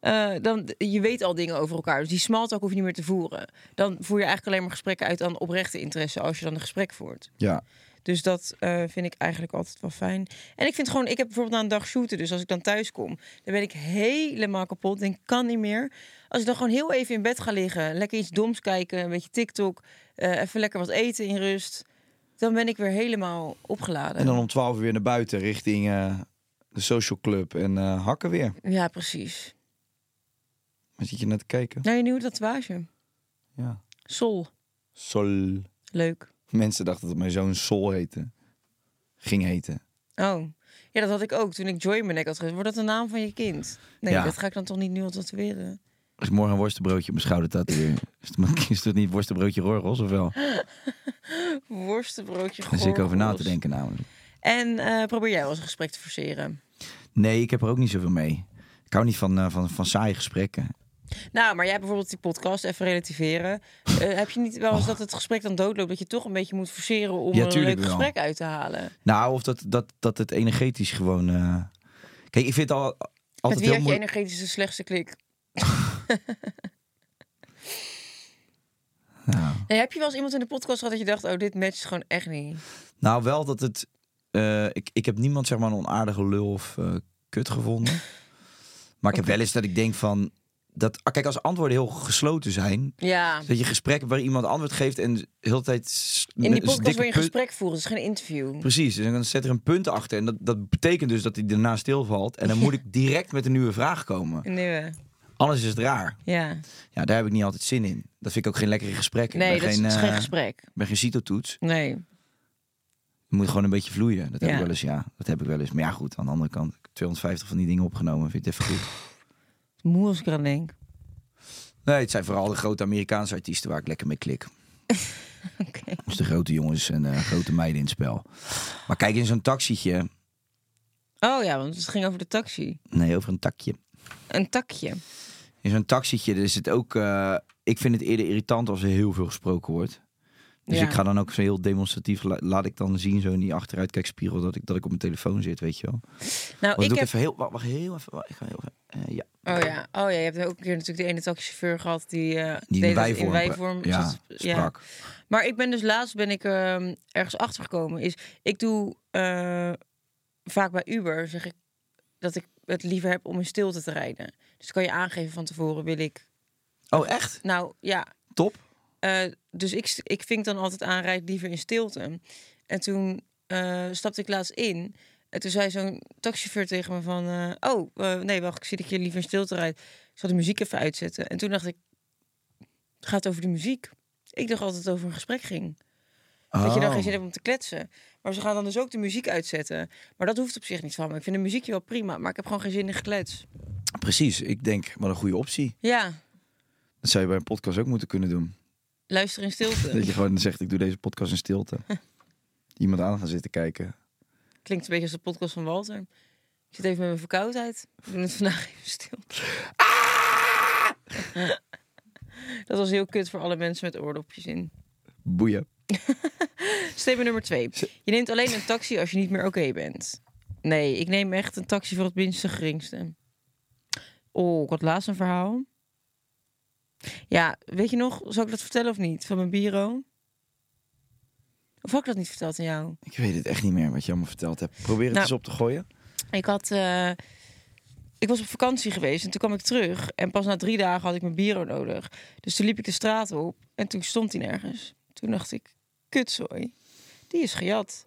S5: Eh, dan, je weet al dingen over elkaar. Dus die smalltalk hoef je niet meer te voeren. Dan voer je eigenlijk alleen maar gesprekken uit aan oprechte interesse... als je dan een gesprek voert.
S4: Ja.
S5: Dus dat eh, vind ik eigenlijk altijd wel fijn. En ik vind gewoon, ik heb bijvoorbeeld na een dag shooten, dus als ik dan thuis kom, dan ben ik helemaal kapot. Denk, kan niet meer. Als ik dan gewoon heel even in bed ga liggen, lekker iets doms kijken, een beetje TikTok, eh, even lekker wat eten in rust. Dan ben ik weer helemaal opgeladen.
S4: En dan om 12 uur weer naar buiten richting eh, de social club en eh, hakken weer.
S5: Ja, precies.
S4: Dan zit je net te kijken.
S5: Naar je nieuwe tatoeage.
S4: Ja.
S5: Sol.
S4: Sol.
S5: Leuk.
S4: Mensen dachten dat mijn zoon Sol heette. Ging heten.
S5: Oh. Ja, dat had ik ook toen ik Joy in mijn nek had gezet. Wordt dat de naam van je kind? Nee,
S4: Ja.
S5: dat ga ik dan toch niet nu al tatoeëren.
S4: Als ik morgen een worstenbroodje op mijn schouder tatoeëer, is het maar- is het niet worstenbroodje rorgels of wel?
S5: Worstenbroodje
S4: Daar zit ik over na te
S5: gorgels.
S4: denken nou. namelijk.
S5: En eh, probeer jij wel eens een gesprek te forceren.
S4: Nee, ik heb er ook niet zoveel mee. Ik hou niet van, eh, van, van saaie gesprekken.
S5: Nou, maar jij hebt bijvoorbeeld die podcast, even relativeren. Eh, heb je niet wel eens dat het gesprek dan doodloopt? Dat je toch een beetje moet forceren om
S4: Oh. Ja,
S5: er een
S4: tuurlijk
S5: leuk
S4: wel.
S5: gesprek uit te halen?
S4: Nou, of dat, dat, dat het energetisch gewoon... eh, Kijk, ik vind het al, altijd
S5: Met wie
S4: heel
S5: had je
S4: moeilijk-
S5: energetisch de slechtste klik? Nee, heb je wel eens iemand in de podcast gehad dat je dacht, oh, dit matcht gewoon echt niet?
S4: Nou, wel dat het... eh, ik, ik heb niemand zeg maar een onaardige lul of eh, kut gevonden. Maar ik heb wel eens dat ik denk van... Dat, ah, kijk, als antwoorden heel gesloten zijn...
S5: Ja.
S4: Dat je gesprekken waar iemand antwoord geeft en de hele tijd... s- met
S5: In die
S4: een
S5: podcast
S4: dus dikke
S5: wil je een
S4: punt-
S5: gesprek voeren, het is geen interview.
S4: Precies, dus dan zet er een punt achter. En dat, dat betekent dus dat hij daarna stilvalt. En dan moet ik direct met een nieuwe vraag komen.
S5: Een nieuwe.
S4: Anders is het raar.
S5: Ja.
S4: Ja, daar heb ik niet altijd zin in. Dat vind ik ook geen lekkere gesprekken.
S5: Nee,
S4: ik ben
S5: dat is,
S4: geen,
S5: het is
S4: eh,
S5: geen gesprek.
S4: Ik ben geen citotoets.
S5: Nee.
S4: Je moet gewoon een beetje vloeien. Dat heb
S5: Ja.
S4: ik wel eens, ja. Dat heb ik wel eens. Maar ja, goed, aan de andere kant. Ik heb 250 van die dingen opgenomen. Vind ik het even goed.
S5: Moe als ik eraan denk.
S4: Nee, het zijn vooral de grote Amerikaanse artiesten waar ik lekker mee klik.
S5: Oké.
S4: Dus de grote jongens en eh, grote meiden in het spel. Maar kijk, in zo'n taxietje...
S5: Oh ja, want het ging over de taxi.
S4: Nee, over een takje.
S5: Een takje.
S4: In zo'n taxietje is het ook... eh, ik vind het eerder irritant als er heel veel gesproken wordt. Dus
S5: Ja.
S4: ik ga dan ook zo heel demonstratief... la- laat ik dan zien zo in die achteruitkijkspiegel... dat ik, dat ik op mijn telefoon zit, weet je wel.
S5: Nou,
S4: Wat doe
S5: ik heb...
S4: Oh, ik even heel... Wacht, wacht, heel even... wacht, ik ga heel even eh, ja.
S5: Oh ja. Oh ja, je hebt ook een keer natuurlijk de ene taxichauffeur gehad die, eh
S4: Die
S5: deed
S4: in
S5: dat
S4: wijvorm.
S5: in wijvorm
S4: Ja,
S5: zat-
S4: sprak.
S5: Maar ik ben dus laatst ben ik ehm, ergens achter gekomen. Is ik doe eh, vaak bij Uber zeg ik dat ik het liever heb om in stilte te rijden. Dus kan je aangeven van tevoren wil ik.
S4: Oh, echt?
S5: Nou ja,
S4: Top.
S5: eh, dus ik, ik vink dan altijd aan rijd liever in stilte. En toen eh, stapte ik laatst in. En toen zei zo'n taxichauffeur tegen me van... eh, oh, eh, nee, wacht, ik zie dat je liever in stilte rijdt. Ik zal de muziek even uitzetten. En toen dacht ik, het gaat over de muziek. Ik dacht altijd dat het over een gesprek ging. Dat je dan geen zin hebt om te kletsen. Maar ze gaan dan dus ook de muziek uitzetten. Maar dat hoeft op zich niet van me. Ik vind de muziekje wel prima, maar ik heb gewoon geen zin in geklets.
S4: Precies, ik denk, wat een goede optie.
S5: Ja,
S4: Dat zou je bij een podcast ook moeten kunnen doen.
S5: luister in
S4: Dat je
S5: stilte.
S4: gewoon zegt, ik doe deze podcast in stilte. Iemand aan gaan zitten kijken.
S5: Klinkt een beetje als de podcast van Walter. Ik zit even met mijn verkoudheid. We doen het vandaag even stil. Dat was heel kut voor alle mensen met oordopjes in.
S4: Boeien.
S5: Statement nummer twee. Je neemt alleen een taxi als je niet meer oké bent. Nee, ik neem echt een taxi voor het minste geringste. Oh, ik had laatst een verhaal. Ja, weet je nog, zal ik dat vertellen of niet? Van mijn bureau? Of had ik dat niet verteld aan jou?
S4: Ik weet het echt niet meer wat je allemaal verteld hebt. Probeer het
S5: Nou.
S4: eens op te gooien.
S5: Ik had. eh, ik was op vakantie geweest en toen kwam ik terug. En pas na drie dagen had ik mijn bureau nodig. Dus toen liep ik de straat op en toen stond hij nergens. Toen dacht ik, kutzooi, die is gejat.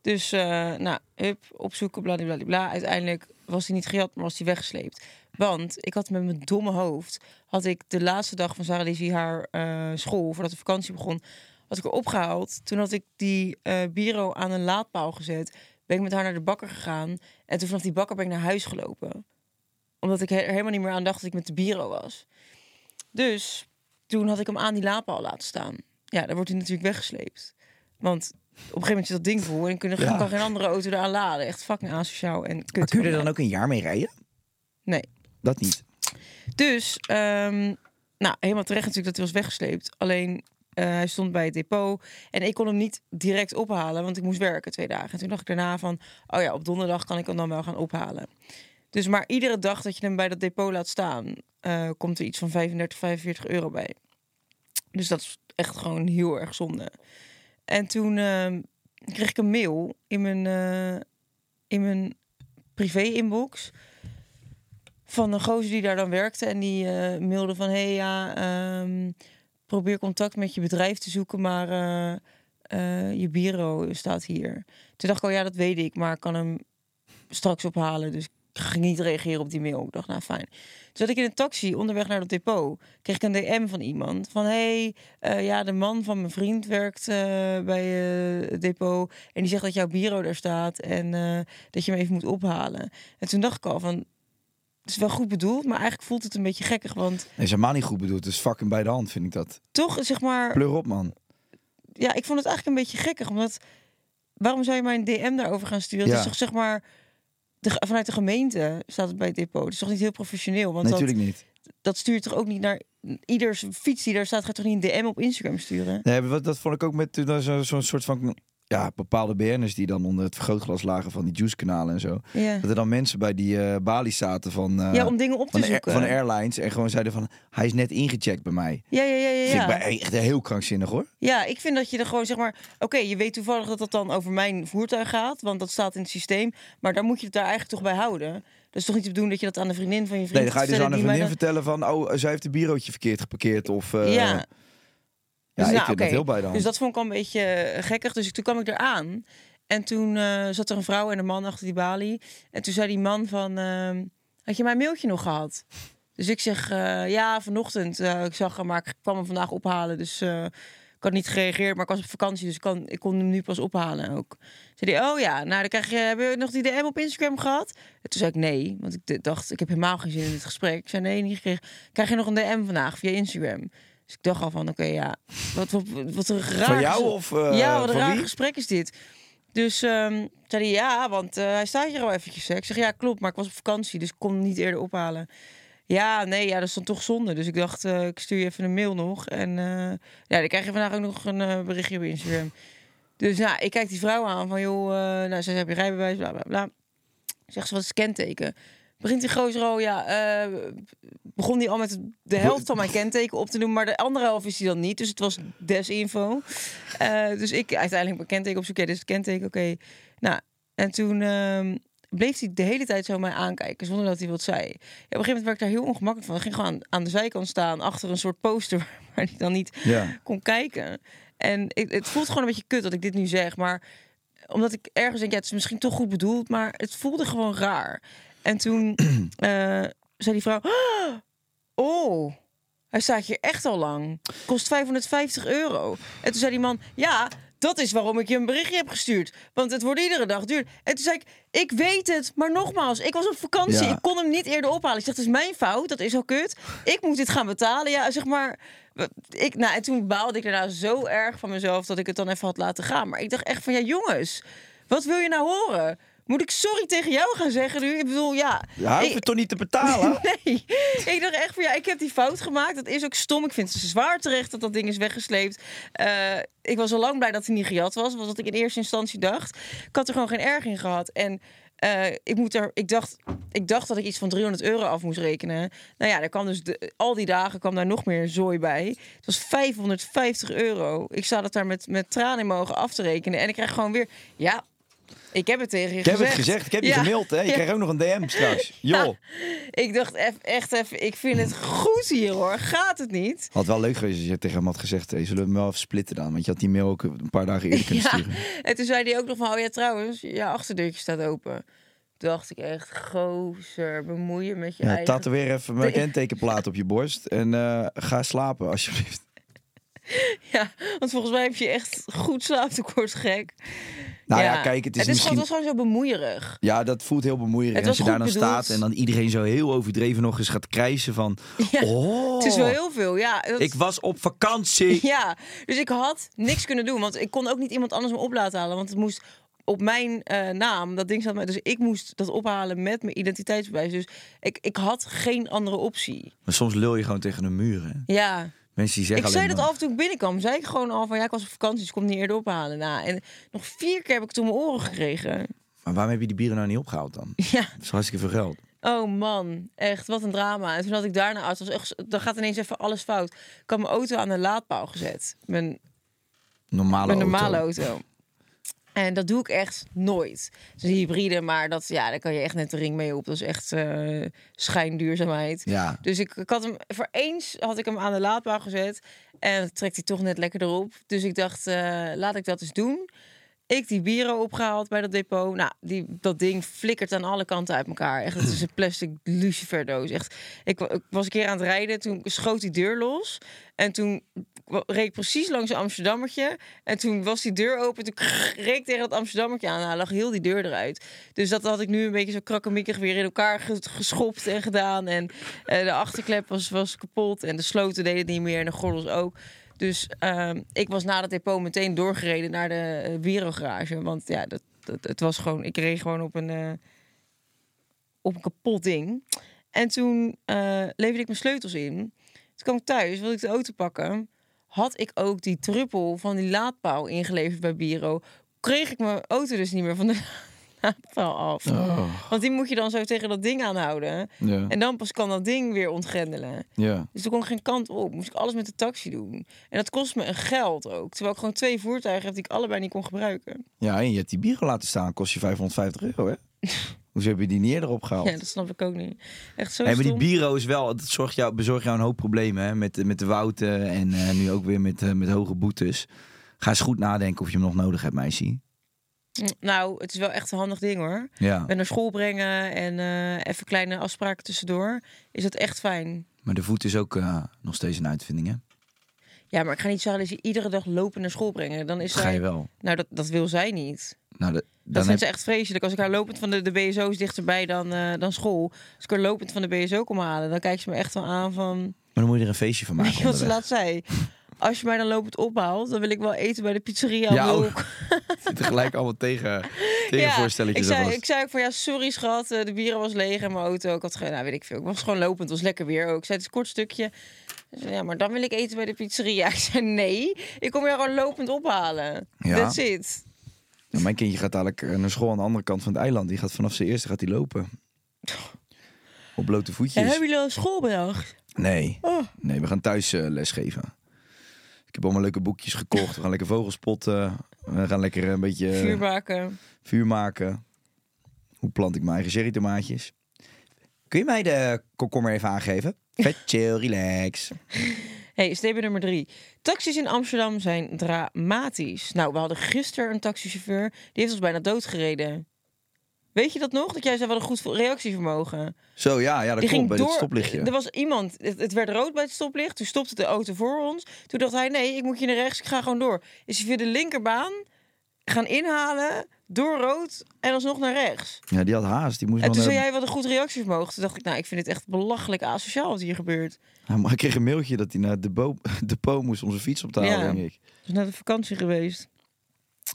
S5: Dus, eh, nou, hup, opzoeken, bladibladibla. Uiteindelijk was hij niet gejat, maar was hij weggesleept. Want ik had met mijn domme hoofd... had ik de laatste dag van Sarah Lizzie haar eh, school... voordat de vakantie begon, had ik haar opgehaald. Toen had ik die eh bureau aan een laadpaal gezet. Ben ik met haar naar de bakker gegaan. En toen vanaf die bakker ben ik naar huis gelopen. Omdat ik er helemaal niet meer aan dacht dat ik met de bureau was. Dus toen had ik hem aan die laadpaal laten staan. Ja, dan wordt hij natuurlijk weggesleept. Want op een gegeven moment zit dat ding vol... en kun je
S4: Ja.
S5: kan geen andere auto eraan laden. Echt fucking asociaal en kut.
S4: Maar kun je er dan
S5: van mij.
S4: ook een jaar mee rijden?
S5: Nee.
S4: Dat niet.
S5: Dus, ehm, nou, helemaal terecht natuurlijk dat hij was weggesleept. Alleen, eh, hij stond bij het depot. En ik kon hem niet direct ophalen, want ik moest werken twee dagen. En toen dacht ik daarna van, oh ja, op donderdag kan ik hem dan wel gaan ophalen. Dus maar iedere dag dat je hem bij dat depot laat staan... eh, komt er iets van 35, 45 euro bij. Dus dat is echt gewoon heel erg zonde. En toen ehm, kreeg ik een mail in mijn, eh, in mijn privé-inbox van een gozer die daar dan werkte. En die eh, mailde van, hey, ja, ehm, probeer contact met je bedrijf te zoeken, maar eh, eh, je bureau staat hier. Toen dacht ik, oh ja, dat weet ik, maar ik kan hem straks ophalen. Dus ik ging niet reageren op die mail. Ik dacht, nou fijn. Toen zat ik in een taxi onderweg naar het depot. Kreeg ik een DM van iemand. Van, hey, eh, ja, de man van mijn vriend werkt eh, bij eh, het depot. En die zegt dat jouw bureau daar staat. En eh, dat je hem even moet ophalen. En toen dacht ik al van... Het is wel goed bedoeld, maar eigenlijk voelt het een beetje gekkig. Want
S4: is helemaal niet goed bedoeld. Het is fucking bij de hand, vind ik dat.
S5: toch, zeg maar...
S4: Pleur op, man.
S5: ja, ik vond het eigenlijk een beetje gekkig. Omdat, waarom zou je mij een DM daarover gaan sturen?
S4: Ja.
S5: Het is toch zeg maar, de, vanuit de gemeente staat het bij het depot. Het is toch niet heel professioneel? Want
S4: Natuurlijk niet.
S5: dat, dat stuurt toch ook niet naar ieders fiets die daar staat. Ga je toch niet een DM op Instagram sturen?
S4: Nee, maar wat, dat vond ik ook met toen er zo- zo'n soort van... Ja, bepaalde BN'ers die dan onder het vergrootglas lagen van die juicekanalen en zo.
S5: Ja.
S4: Dat er dan mensen bij die eh balies zaten van... eh,
S5: Ja, om dingen op te
S4: van de air-
S5: zoeken.
S4: van airlines en gewoon zeiden van... Hij is net ingecheckt bij mij.
S5: Ja, ja, ja,
S4: Vind ik
S5: ja.
S4: bij-
S5: Ja.
S4: echt heel krankzinnig hoor.
S5: ja, ik vind dat je er gewoon zeg maar... Oké, je weet toevallig dat dat dan over mijn voertuig gaat. Want dat staat in het systeem. Maar daar moet je het daar eigenlijk toch bij houden. Dat is toch niet te doen dat je dat aan de vriendin van je vriend
S4: Nee, dan ga je dus
S5: vertelt
S4: aan een
S5: die mij
S4: vriendin
S5: dat-
S4: vertellen van... Oh, zij heeft een bureautje verkeerd geparkeerd of... eh,
S5: Ja.
S4: Ja, ik
S5: nou,
S4: vind
S5: oké.
S4: dat heel bij de hand.
S5: Dus dat vond ik al een beetje eh, gekkig. Dus ik- toen kwam ik eraan. En toen eh, zat er een vrouw en een man achter die balie. En toen zei die man van... ehm, had je mijn mailtje nog gehad? Dus ik zeg, eh, ja, vanochtend. eh, ik zag hem, maar ik kwam hem vandaag ophalen. Dus eh, ik had niet gereageerd, maar ik was op vakantie. Dus ik, kan, ik kon hem nu pas ophalen ook. Zei hij, oh ja, nou dan krijg je... Heb je nog die DM op Instagram gehad? En toen zei ik nee, want ik d- dacht... Ik heb helemaal geen zin in dit gesprek. Ik zei nee, niet gekregen. Krijg je nog een DM vandaag via Instagram? Dus ik dacht al van, oké, ja, wat, wat, wat een raar...
S4: Van jou of, eh,
S5: ja, wat een
S4: van
S5: raar
S4: wie?
S5: gesprek is dit. Dus ehm, zei hij, ja, want eh, hij staat hier al eventjes. hè. Ik zeg, ja, klopt, maar ik was op vakantie, dus ik kon hem niet eerder ophalen. Ja, nee, ja, dat is dan toch zonde. Dus ik dacht, eh, ik stuur je even een mail nog. En eh, ja, dan krijg je vandaag ook nog een eh, berichtje op Instagram. Dus nou, ik kijk die vrouw aan van, joh, eh, nou, ze zei, heb je rijbewijs, bla, bla, bla. Zegt ze, wat is het kenteken? Begint die gozer al, ja, eh, begon die al met de helft van mijn kenteken op te doen, maar de andere helft is hij dan niet. Dus het was desinfo. Eh, dus ik uiteindelijk mijn kenteken op zoek. Ja, dit is het kenteken, oké. Nou, en toen ehm, bleef hij de hele tijd zo mij aankijken, zonder dat hij wat zei. Ja, op een gegeven moment werd ik daar heel ongemakkelijk van. Ik ging gewoon aan, aan de zijkant staan, achter een soort poster, waar hij dan niet
S4: Ja.
S5: kon kijken. En ik, het voelt gewoon een beetje kut dat ik dit nu zeg, maar omdat ik ergens denk, ja, het is misschien toch goed bedoeld, maar het voelde gewoon raar. En toen eh, zei die vrouw, "Ah, oh, hij staat hier echt al lang. Kost 550 euro. En toen zei die man, ja, dat is waarom ik je een berichtje heb gestuurd. Want het wordt iedere dag duur. En toen zei ik, ik weet het, maar nogmaals, ik was op vakantie.
S4: Ja.
S5: Ik kon hem niet eerder ophalen. Ik zeg, het is mijn fout, dat is al kut. Ik moet dit gaan betalen. Ja, zeg maar... we- Ik, nou, en toen baalde ik daarna zo erg van mezelf dat ik het dan even had laten gaan. Maar ik dacht echt van, ja jongens, wat wil je nou horen? Moet ik sorry tegen jou gaan zeggen nu? Ik bedoel, ja...
S4: Ja, hoef
S5: ik-
S4: je toch niet te betalen?
S5: Nee, ik dacht echt van ja, ik heb die fout gemaakt. Dat is ook stom. Ik vind het zwaar terecht dat dat ding is weggesleept. Eh, ik was al lang blij dat hij niet gejat was, want wat ik in eerste instantie dacht. Ik had er gewoon geen erg in gehad. En eh, ik, moet er, ik, dacht, ik dacht dat ik iets van 300 euro af moest rekenen. Nou ja, daar kwam dus de- al die dagen kwam daar nog meer zooi bij. Het was 550 euro. Ik zat het daar met, met tranen in mijn ogen af te rekenen. En ik krijg gewoon weer, ja, ik heb het tegen je
S4: Ik heb het gezegd, ik heb je
S5: Ja.
S4: gemaild, hè? Je
S5: Ja.
S4: krijgt ook nog een DM straks. Joh.
S5: Ik dacht eff- echt even, ik vind het goed hier hoor. Gaat het niet?
S4: Had wel leuk geweest als je tegen hem had gezegd: hey, zullen we hem wel even splitten dan? Want je had die mail ook een paar dagen eerder kunnen
S5: Ja.
S4: sturen.
S5: En toen zei hij ook nog van, oh ja trouwens, je achterdeurtje staat open. Toen dacht ik echt, gozer, bemoei je met je
S4: Ja,
S5: eigen...
S4: tatoeëer even mijn kentekenplaat op je borst en eh, ga slapen alsjeblieft.
S5: Ja, want volgens mij heb je echt goed slaaptekort, gek.
S4: Nou ja, kijk, het is,
S5: gewoon-
S4: misschien...
S5: het was gewoon zo bemoeierig.
S4: Ja, dat voelt heel bemoeiend.
S5: Het
S4: En als je
S5: was
S4: daar dan
S5: goed bedoeld.
S4: staat en dan iedereen zo heel overdreven nog eens gaat krijsen van...
S5: Ja,
S4: Oh,
S5: Het is wel heel veel, ja. dat-
S4: ik was op vakantie.
S5: Ja, dus ik had niks kunnen doen. Want ik kon ook niet iemand anders me op laten halen. Want het moest op mijn eh, naam, dat ding zat mij. Dus ik moest dat ophalen met mijn identiteitsbewijs. Dus ik, ik had geen andere optie.
S4: Maar soms lul je gewoon tegen een muur, hè?
S5: Ja.
S4: Mensen die
S5: Ik
S4: zeggen
S5: zei
S4: alleen
S5: dat
S4: maar-
S5: af toen ik binnenkwam. Zei ik gewoon al van ja, ik was op vakantie, dus ik kon het niet eerder ophalen. Nou, en nog vier keer heb ik toen mijn oren gekregen.
S4: Maar waarom heb je die bieren nou niet opgehaald dan?
S5: Ja.
S4: Dat is hartstikke veel geld.
S5: Oh man, echt, wat een drama. En toen had ik daarna uit, was echt, dan gaat ineens even alles fout. Ik had mijn auto aan de laadpaal gezet. Mijn
S4: Normale
S5: Mijn
S4: auto.
S5: normale auto. En dat doe ik echt nooit. Dus hybride, maar dat, ja, daar kan je echt net de ring mee op. Dat is echt eh, schijnduurzaamheid.
S4: Ja.
S5: Dus ik, ik had hem voor eens had ik hem aan de laadbaar gezet en trekt hij toch net lekker erop. Dus ik dacht, eh, laat ik dat eens doen. Ik die bieren opgehaald bij dat depot. Nou, die, dat ding flikkert aan alle kanten uit elkaar. Echt, het is een plastic luciferdoos. Echt, ik, wa- ik was een keer aan het rijden, toen schoot die deur los. En toen wa- reed ik precies langs een Amsterdammertje. En toen was die deur open, toen krrr, reed ik tegen dat Amsterdammertje aan. Nou, lag heel die deur eruit. Dus dat had ik nu een beetje zo krakkemikkig weer in elkaar ge- geschopt en gedaan. En eh, de achterklep was, was kapot en de sloten deden het niet meer en de gordels ook. Dus ehm, ik was na dat depot meteen doorgereden naar de eh, bureaugarage. Want ja, dat, dat, het was gewoon, ik reed gewoon op een, eh, op een kapot ding. En toen eh, leverde ik mijn sleutels in. Toen kwam ik thuis, wilde ik de auto pakken. Had ik ook die truppel van die laadpaal ingeleverd bij Biro. Kreeg ik mijn auto dus niet meer van de laadpaal af. Want die moet je dan zo tegen dat ding aanhouden.
S4: Oh. Ja.
S5: En dan pas kan dat ding weer ontgrendelen.
S4: Ja.
S5: Dus toen kon ik geen kant op. Moest ik alles met de taxi doen. En dat kost me een geld ook. Terwijl ik gewoon twee voertuigen heb die ik allebei niet kon gebruiken.
S4: ja, en je hebt die bier laten staan. Kost je 550 euro, hè? Hoezo heb je die niet eerder opgehaald?
S5: Ja, dat snap ik ook niet. Echt zo
S4: Nee, maar die
S5: stom.
S4: bureau is wel, dat zorgt jou, bezorgt jou een hoop problemen hè? Met, met de wouten en eh, nu ook weer met, eh, met hoge boetes. Ga eens goed nadenken of je hem nog nodig hebt, meisje.
S5: Nou, het is wel echt een handig ding hoor.
S4: Ja,
S5: En naar school brengen en eh, even kleine afspraken tussendoor. Is dat echt fijn.
S4: maar de voet is ook eh, nog steeds een uitvinding, hè?
S5: Ja, maar ik ga niet zeggen dat ze iedere dag lopen naar school brengen. Dan is
S4: Ga je
S5: zij...
S4: wel.
S5: Nou, dat, dat wil zij niet.
S4: Nou, de-
S5: Dat
S4: dan
S5: vindt
S4: heb-
S5: ze echt vreselijk. Als ik haar lopend van de, de BSO is dichterbij dan, eh, dan school. Als ik haar lopend van de BSO kom halen, dan kijkt ze me echt wel aan van...
S4: Maar dan moet je er een feestje van
S5: Weet
S4: maken.
S5: je wat ze
S4: onderweg.
S5: laatst zei? Als je mij dan lopend ophaalt, dan wil ik wel eten bij de pizzeria. om
S4: Ja,
S5: de
S4: oh.
S5: hoek.
S4: Zitten gelijk allemaal tegen,
S5: Ja, ik
S4: tegenvoorstelletjes
S5: zei,
S4: alvast.
S5: ik zei ook van ja, sorry schat, eh, de bieren was leeg en mijn auto. Ik had geen, nou weet ik veel. Ik was gewoon lopend, het was lekker weer ook. Ik zei het is een kort stukje. Ze zei, Ja, maar dan wil ik eten bij de pizzeria. Ik zei nee, ik kom jou gewoon lopend ophalen.
S4: Ja.
S5: That's it.
S4: Nou, mijn kindje gaat dadelijk eh, naar school aan de andere kant van het eiland. Die gaat vanaf zijn eerste gaat die lopen. Op blote
S5: Ja, Oh.
S4: voetjes.
S5: hebben jullie al een schoolbedag?
S4: Nee. Nee, we gaan thuis eh, lesgeven. Ik heb allemaal leuke boekjes gekocht. We gaan lekker vogels potten. We gaan lekker een beetje eh,
S5: Vuur maken.
S4: vuur maken. Hoe plant ik mijn eigen cherrytomaatjes? Kun je mij de eh, komkommer even aangeven? Vet chill, relax.
S5: Hey, stap nummer drie. Taxis in Amsterdam zijn dramatisch. Nou, we hadden gisteren een taxichauffeur. Die heeft ons bijna doodgereden. Weet je dat nog? Dat jij zei, wat een goed reactievermogen.
S4: Zo, ja, ja dat
S5: Die
S4: komt
S5: ging
S4: bij
S5: door.
S4: het stoplichtje.
S5: Er was iemand, het, het werd rood bij het stoplicht. Toen stopte de auto voor ons. Toen dacht hij, nee, ik moet je naar rechts, ik ga gewoon door. Is hij via de linkerbaan gaan inhalen, door rood en alsnog naar rechts.
S4: Ja, die had haast. Die moest
S5: En
S4: nog
S5: toen zei
S4: naar-
S5: jij, wat een goed reactievermogen. Toen dacht ik, nou, ik vind het echt belachelijk asociaal wat hier gebeurt.
S4: Hij Nou, maar ik kreeg een mailtje dat hij naar de bo- depot moest om zijn fiets op te halen,
S5: Ja.
S4: denk ik.
S5: Dus naar de vakantie geweest.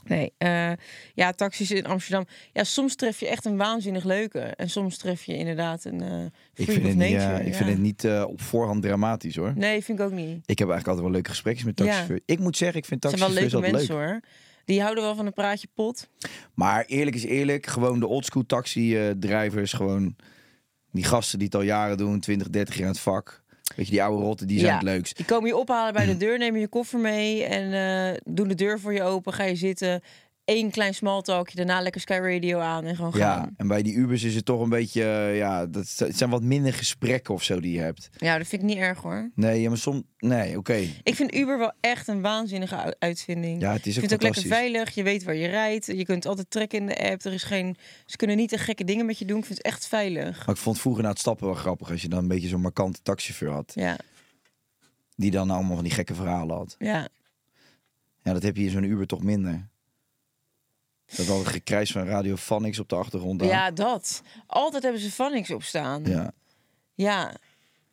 S5: Nee, eh, ja, taxis in Amsterdam. Ja, soms tref je echt een waanzinnig leuke. En soms tref je inderdaad een eh
S4: Ik
S5: freak
S4: vind,
S5: of
S4: het niet,
S5: nature.
S4: eh, ik
S5: ja.
S4: vind het niet eh, op voorhand dramatisch, hoor.
S5: Nee, vind ik ook niet.
S4: Ik heb eigenlijk altijd wel leuke gesprekjes met
S5: Ja.
S4: taxichauffeurs. Ik moet zeggen, ik vind
S5: Het zijn wel
S4: taxichauffeurs
S5: leuke
S4: altijd
S5: mensen
S4: leuk.
S5: hoor. Die houden wel van een praatje pot.
S4: Maar eerlijk is eerlijk, gewoon de oldschool taxi-drivers, gewoon die gasten die het al jaren doen, 20, 30 jaar aan het vak. Weet je, die oude rotten, die zijn het leukst.
S5: Die komen je ophalen bij de deur, nemen je koffer mee en eh, doen de deur voor je open. Ga je zitten. Eén klein small talkje, daarna lekker Sky Radio aan en gewoon
S4: Ja,
S5: gaan.
S4: en bij die Ubers is het toch een beetje, eh, ja, dat z- het zijn wat minder gesprekken of zo die je hebt.
S5: Ja, dat vind ik niet erg hoor.
S4: Nee, ja, maar soms, nee, oké.
S5: Ik vind Uber wel echt een waanzinnige u- uitvinding.
S4: Ja, het is
S5: ik
S4: ook
S5: vind het ook lekker
S4: fantastisch.
S5: veilig. Je weet waar je rijdt. Je kunt altijd trekken in de app. Er is geen, ze kunnen niet de gekke dingen met je doen. Ik vind het echt veilig.
S4: Maar ik vond vroeger na het stappen wel grappig als je dan een beetje zo'n markante taxichauffeur had.
S5: Ja,
S4: Die dan allemaal van die gekke verhalen had.
S5: ja.
S4: Ja, dat heb je in zo'n Uber toch minder. Dat al gekrijs van Radio Phonics op de achtergrond. aan.
S5: ja, dat. Altijd hebben ze van niks op staan.
S4: ja.
S5: Ja,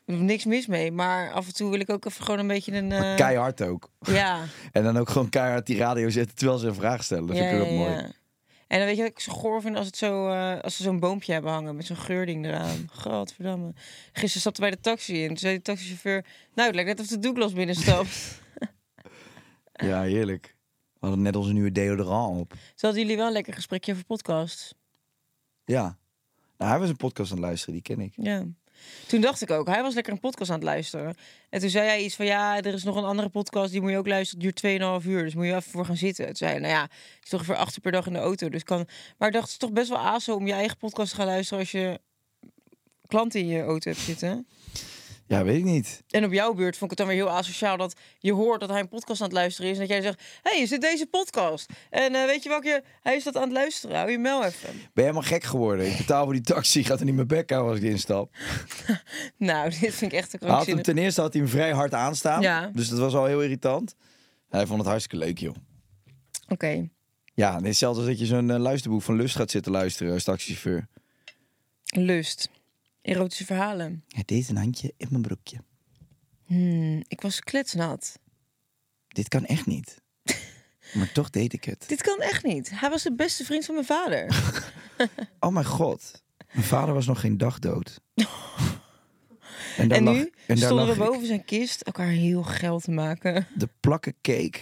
S5: niks mis mee. Maar af en toe wil ik ook even gewoon een beetje een.
S4: Maar
S5: eh,
S4: keihard ook.
S5: Ja,
S4: En dan ook gewoon keihard die radio zetten terwijl ze een vraag stellen. Dat
S5: ja,
S4: vind ik ook
S5: ja,
S4: mooi.
S5: ja. En dan weet je wat ik zo goor vind als, het zo, eh, als ze zo'n boompje hebben hangen met zo'n geurding eraan. Godverdamme. Gisteren stapte bij de taxi in. Toen zei de taxichauffeur, nou het lijkt net of de Douglas binnenstapt.
S4: Ja. heerlijk. We hadden net onze nieuwe deodorant op.
S5: Zo hadden jullie wel een lekker gesprekje over podcasts.
S4: Ja. Nou, hij was een podcast aan het luisteren, die ken ik.
S5: Ja. Toen dacht ik ook, hij was lekker een podcast aan het luisteren. En toen zei hij iets van, ja, er is nog een andere podcast, die moet je ook luisteren, duurt 2,5 uur, dus moet je even voor gaan zitten. Toen zei hij, nou ja, het is toch voor acht uur per dag in de auto, dus kan... Maar ik dacht, het is toch best wel aso om je eigen podcast te gaan luisteren als je klanten in je auto hebt zitten.
S4: Ja, weet ik niet.
S5: En op jouw beurt vond ik het dan weer heel asociaal dat je hoort dat hij een podcast aan het luisteren is. En dat jij zegt, hé, hey, is dit deze podcast? En eh, weet je welke, hij is dat aan het luisteren, hou je mel even.
S4: Ben je helemaal gek geworden? Ik betaal voor die taxi, gaat er niet mijn bek houden als ik instap.
S5: Nou, dit vind ik echt een
S4: Hij Had hem,
S5: krankzinnig.
S4: ten eerste had hij hem vrij hard aanstaan,
S5: Ja.
S4: dus dat was al heel irritant. Hij vond het hartstikke leuk, joh.
S5: Oké.
S4: Ja, het is hetzelfde als dat je zo'n eh, luisterboek van Lust gaat zitten luisteren als taxichauffeur.
S5: Lust. Erotische verhalen.
S4: Het is een handje in mijn broekje.
S5: Hmm, ik was kletsnat.
S4: Dit kan echt niet. maar toch deed ik het.
S5: Dit kan echt niet. Hij was de beste vriend van mijn vader.
S4: Oh mijn god. Mijn vader was nog geen dag dood. en, daar
S5: en
S4: lag-
S5: nu
S4: en daar
S5: stonden we
S4: lag ik.
S5: boven zijn kist elkaar heel geil te maken.
S4: De plakken cake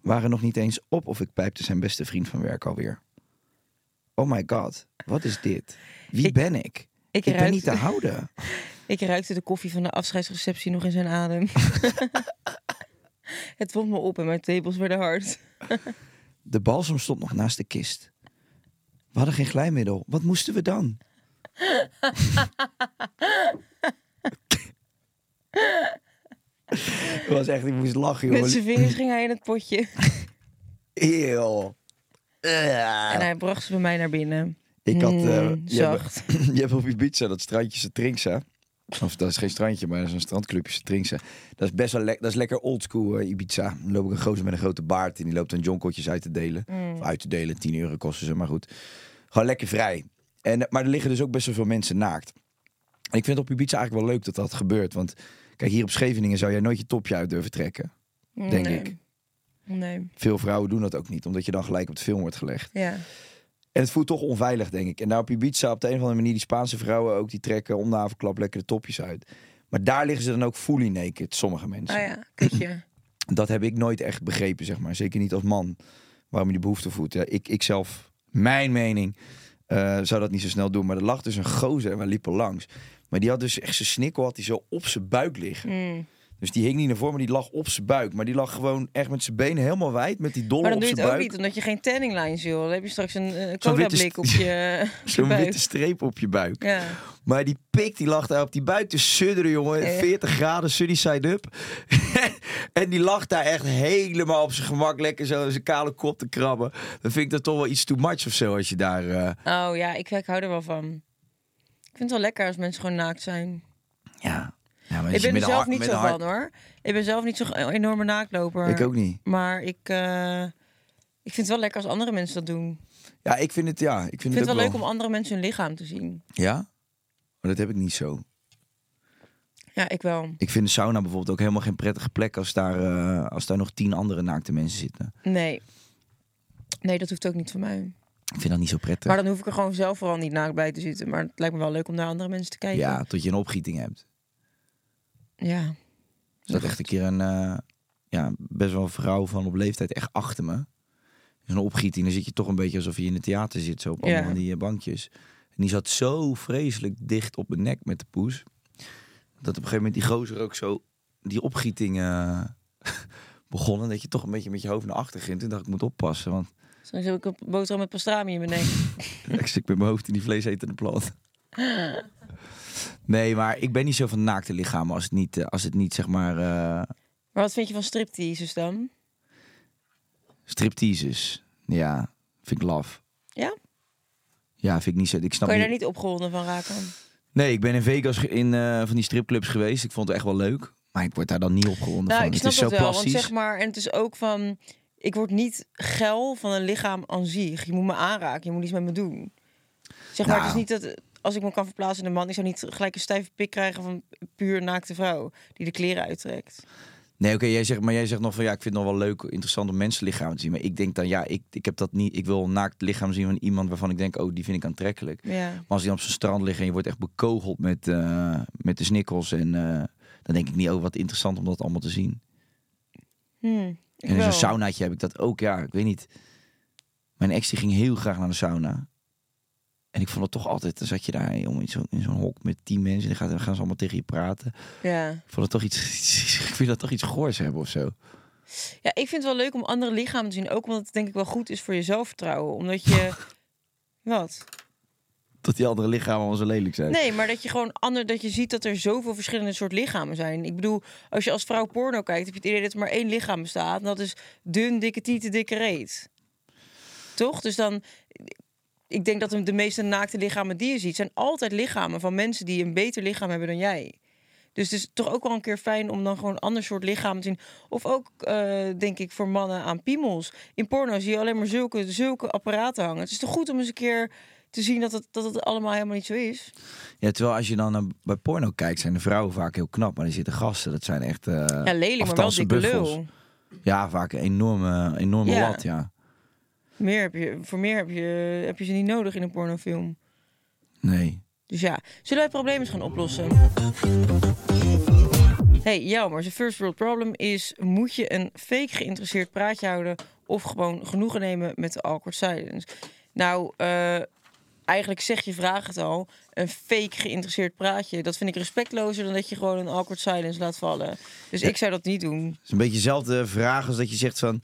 S4: waren nog niet eens op of ik pijpte zijn beste vriend van werk alweer. Oh my god, wat is dit? Wie
S5: Ik-
S4: ben ik? Ik, ben
S5: ruik-
S4: niet te houden.
S5: Ik ruikte de koffie van de afscheidsreceptie nog in zijn adem. Het wond me op en mijn tepels werden hard.
S4: De balsem stond nog naast de kist. We hadden geen glijmiddel. Wat moesten we dan? Het was echt, ik moest lachen,
S5: Met
S4: jongen.
S5: zijn vingers ging hij in het potje.
S4: Eeuw. Ah.
S5: En hij bracht ze bij mij naar binnen.
S4: Ik had... eh,
S5: Mm,
S4: je, hebt,
S5: zacht.
S4: je hebt op Ibiza dat strandje Satrinxa. Of dat is geen strandje, maar dat is een strandclubje Satrinxa. Dat is best wel lekker. Dat is lekker oldschool eh, Ibiza. Dan loop ik een gozer met een grote baard en die loopt dan jonkotjes uit te delen.
S5: Hmm.
S4: Of uit te delen, 10 euro kosten ze, maar goed. Gewoon lekker vrij. En, eh, maar er liggen dus ook best wel veel mensen naakt. En ik vind het op Ibiza eigenlijk wel leuk dat dat gebeurt. Want kijk, hier op Scheveningen zou jij nooit je topje uit durven trekken. Denk
S5: nee.
S4: ik.
S5: Oh, Nee.
S4: Veel vrouwen doen dat ook niet, omdat je dan gelijk op de film wordt gelegd.
S5: Ja.
S4: En het voelt toch onveilig, denk ik. En nou op Ibiza, op de een of andere manier, die Spaanse vrouwen ook, die trekken om de avondklap lekker de topjes uit. Maar daar liggen ze dan ook fully naked, sommige mensen.
S5: Ah ja, kutje.
S4: Dat heb ik nooit echt begrepen, zeg maar. Zeker niet als man, waarom je die behoefte voelt. Ja, ik, ik zelf, mijn mening, eh, zou dat niet zo snel doen. Maar er lag dus een gozer en we liepen langs. Maar die had dus echt zijn snikkel had hij zo op zijn buik liggen.
S5: Hmm.
S4: Dus die hing niet naar voren, maar die lag op zijn buik. Maar die lag gewoon echt met zijn benen helemaal wijd, met die
S5: Maar
S4: dolle
S5: dan
S4: op
S5: doe je
S4: zijn
S5: het ook
S4: buik.
S5: niet, omdat je geen tanning lines wil. Dan heb je straks een eh,
S4: Zo'n witte
S5: cola-blik
S4: st-
S5: op je, op je
S4: Zo'n
S5: buik.
S4: witte streep op je buik.
S5: Ja.
S4: Maar die pik die lag daar op die buik te sudderen, jongen.
S5: Echt?
S4: 40 graden, sunny side up. en die lag daar echt helemaal op zijn gemak lekker zo in zijn kale kop te krabben. Dan vind ik dat toch wel iets too much of zo als je daar... eh,
S5: Oh ja, ik, ik hou er wel van. Ik vind het wel lekker als mensen gewoon naakt zijn.
S4: ja. ja maar als
S5: Ik
S4: je
S5: ben
S4: met
S5: er
S4: een
S5: zelf
S4: hart-
S5: niet
S4: met
S5: zo
S4: een hart-
S5: van hoor. Ik ben zelf niet zo'n e- enorme naaktloper.
S4: Ik ook niet.
S5: Maar ik, eh, ik vind het wel lekker als andere mensen dat doen. Ik
S4: Ja, ik vind het, ja, ik vind
S5: vind
S4: het
S5: het wel
S4: ook
S5: leuk om andere mensen hun lichaam te zien.
S4: Ja? Maar dat heb ik niet zo.
S5: Ja, ik wel.
S4: Ik vind de sauna bijvoorbeeld ook helemaal geen prettige plek als daar, eh, als daar nog tien andere naakte mensen zitten.
S5: Nee. Nee, dat hoeft ook niet van mij.
S4: Ik vind dat niet zo prettig.
S5: Maar dan hoef ik er gewoon zelf vooral niet naakt bij te zitten. Maar het lijkt me wel leuk om naar andere mensen te kijken.
S4: Ja, tot je een opgieting hebt.
S5: Ja.
S4: Er zat Dus echt een keer een eh, ja, best wel een vrouw van op leeftijd echt achter me. Zo'n opgieting, dan zit je toch een beetje alsof je in het theater zit, zo op allemaal
S5: Ja.
S4: van die eh, bankjes. En die zat zo vreselijk dicht op mijn nek met de poes. Dat op een gegeven moment die gozer ook zo die opgieting eh, begon. En dat je toch een beetje met je hoofd naar achter ging. Toen dacht ik, ik moet oppassen, want
S5: Straks heb ik een boterham met pastrami in mijn nek.
S4: ik stik met mijn hoofd in die vleesetende plant. Nee, maar ik ben niet zo van naakte lichamen als het niet, eh, als het niet zeg maar, eh,
S5: Maar wat vind je van stripteases dan?
S4: Stripteases. Ja, vind ik laf.
S5: Ja?
S4: Ja, vind ik niet zo. Ik snap
S5: Kan je daar niet opgewonden van raken?
S4: Nee, ik ben in Vegas ge- in eh, van die stripclubs geweest. Ik vond het echt wel leuk. Maar ik word daar dan niet opgewonden
S5: Nou,
S4: van.
S5: ik
S4: het
S5: snap
S4: is zo
S5: dat wel, want
S4: plastisch.
S5: zeg maar, en het is ook van, ik word niet geil van een lichaam aan zich. Je moet me aanraken, je moet iets met me doen. Zeg maar, het
S4: Nou.
S5: is niet dat als ik me kan verplaatsen in een man, ik zou niet gelijk een stijve pik krijgen van een puur naakte vrouw die de kleren uittrekt.
S4: Nee, oké, jij zegt, maar jij zegt nog van ja, ik vind het nog wel leuk, interessant om mensenlichamen te zien. Maar ik denk dan ja, ik, ik heb dat niet. Ik wil een naakt lichaam zien van iemand waarvan ik denk, oh, die vind ik aantrekkelijk.
S5: Ja.
S4: Maar als die dan op zijn strand liggen en je wordt echt bekogeld met, eh, met de snikkels. En eh, dan denk ik niet, oh, wat interessant om dat allemaal te zien.
S5: Hm, ik
S4: En in
S5: wel.
S4: zo'n saunaatje heb ik dat ook, ja, ik weet niet. Mijn ex die ging heel graag naar de sauna. En ik vond het toch altijd, dan zat je daar jongen, in zo'n in zo'n hok met tien mensen en dan gaan, dan gaan ze allemaal tegen je praten.
S5: Ja.
S4: Ik vond het toch iets, ik vind dat toch iets goors hebben of zo.
S5: ja, ik vind het wel leuk om andere lichamen te zien. Ook omdat het denk ik wel goed is voor je zelfvertrouwen. Omdat je... Wat?
S4: Dat die andere lichamen allemaal zo lelijk zijn.
S5: Nee, maar dat je gewoon ander, dat je ziet dat er zoveel verschillende soort lichamen zijn. Ik bedoel, als je als vrouw porno kijkt, heb je het idee dat er maar één lichaam bestaat. En dat is dun, dikke tieten, dikke reet. Toch? Dus dan, ik denk dat de meeste naakte lichamen die je ziet, zijn altijd lichamen van mensen die een beter lichaam hebben dan jij. Dus het is toch ook wel een keer fijn om dan gewoon een ander soort lichaam te zien. Of ook, eh, denk ik, voor mannen aan piemels. In porno zie je alleen maar zulke, zulke apparaten hangen. Het is toch goed om eens een keer te zien dat het, dat het allemaal helemaal niet zo is.
S4: Ja, terwijl als je dan naar- bij porno kijkt, zijn de vrouwen vaak heel knap. Maar er zitten gasten, dat zijn echt eh
S5: Ja, lelijk, maar wel
S4: aftansen
S5: dikke
S4: buffels.
S5: lul.
S4: Ja, vaak een enorme, enorme
S5: Ja.
S4: lat, ja.
S5: Meer heb je, voor meer heb je, heb je ze niet nodig in een pornofilm.
S4: Nee.
S5: Dus ja, zullen wij problemen eens gaan oplossen? Hey, Jelmer, zijn first world problem is... moet je een fake geïnteresseerd praatje houden... of gewoon genoegen nemen met de awkward silence? Nou, eh, eigenlijk zeg je vraag het al. Een fake geïnteresseerd praatje, dat vind ik respectlozer... dan dat je gewoon een awkward silence laat vallen. Dus ik zou dat niet doen.
S4: Het is een beetje dezelfde vraag als dat je zegt van...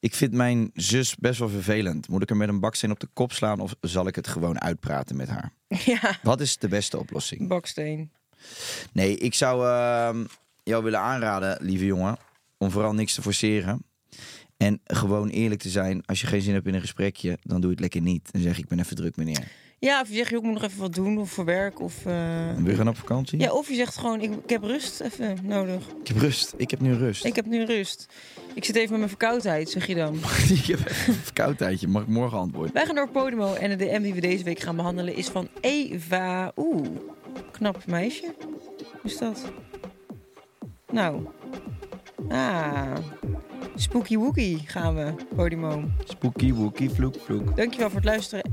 S4: Ik vind mijn zus best wel vervelend. Moet ik er met een baksteen op de kop slaan of zal ik het gewoon uitpraten met haar?
S5: ja,
S4: Wat is de beste oplossing?
S5: baksteen.
S4: Nee, ik zou ehm, jou willen aanraden, lieve jongen, om vooral niks te forceren. En gewoon eerlijk te zijn. Als je geen zin hebt in een gesprekje, dan doe je het lekker niet. En zeg ik ben even druk, meneer.
S5: Ja, of je zegt, joh, ik moet nog even wat doen, of voor werk, of... eh,
S4: En we gaan op vakantie?
S5: Ja, of je zegt gewoon, ik, ik heb rust even nodig.
S4: Ik heb rust. Ik heb nu rust.
S5: Ik heb nu rust. Ik zit even met mijn verkoudheid, zeg je dan.
S4: ik heb even een verkoudheidje. Mag ik morgen antwoorden?
S5: Wij gaan door Podimo en de DM die we deze week gaan behandelen is van Eva. Oeh, knap meisje. Hoe is dat? Nou. Ah. Spooky Wookie gaan we, Podimo.
S4: Spooky wookie vloek vloek.
S5: Dankjewel voor het luisteren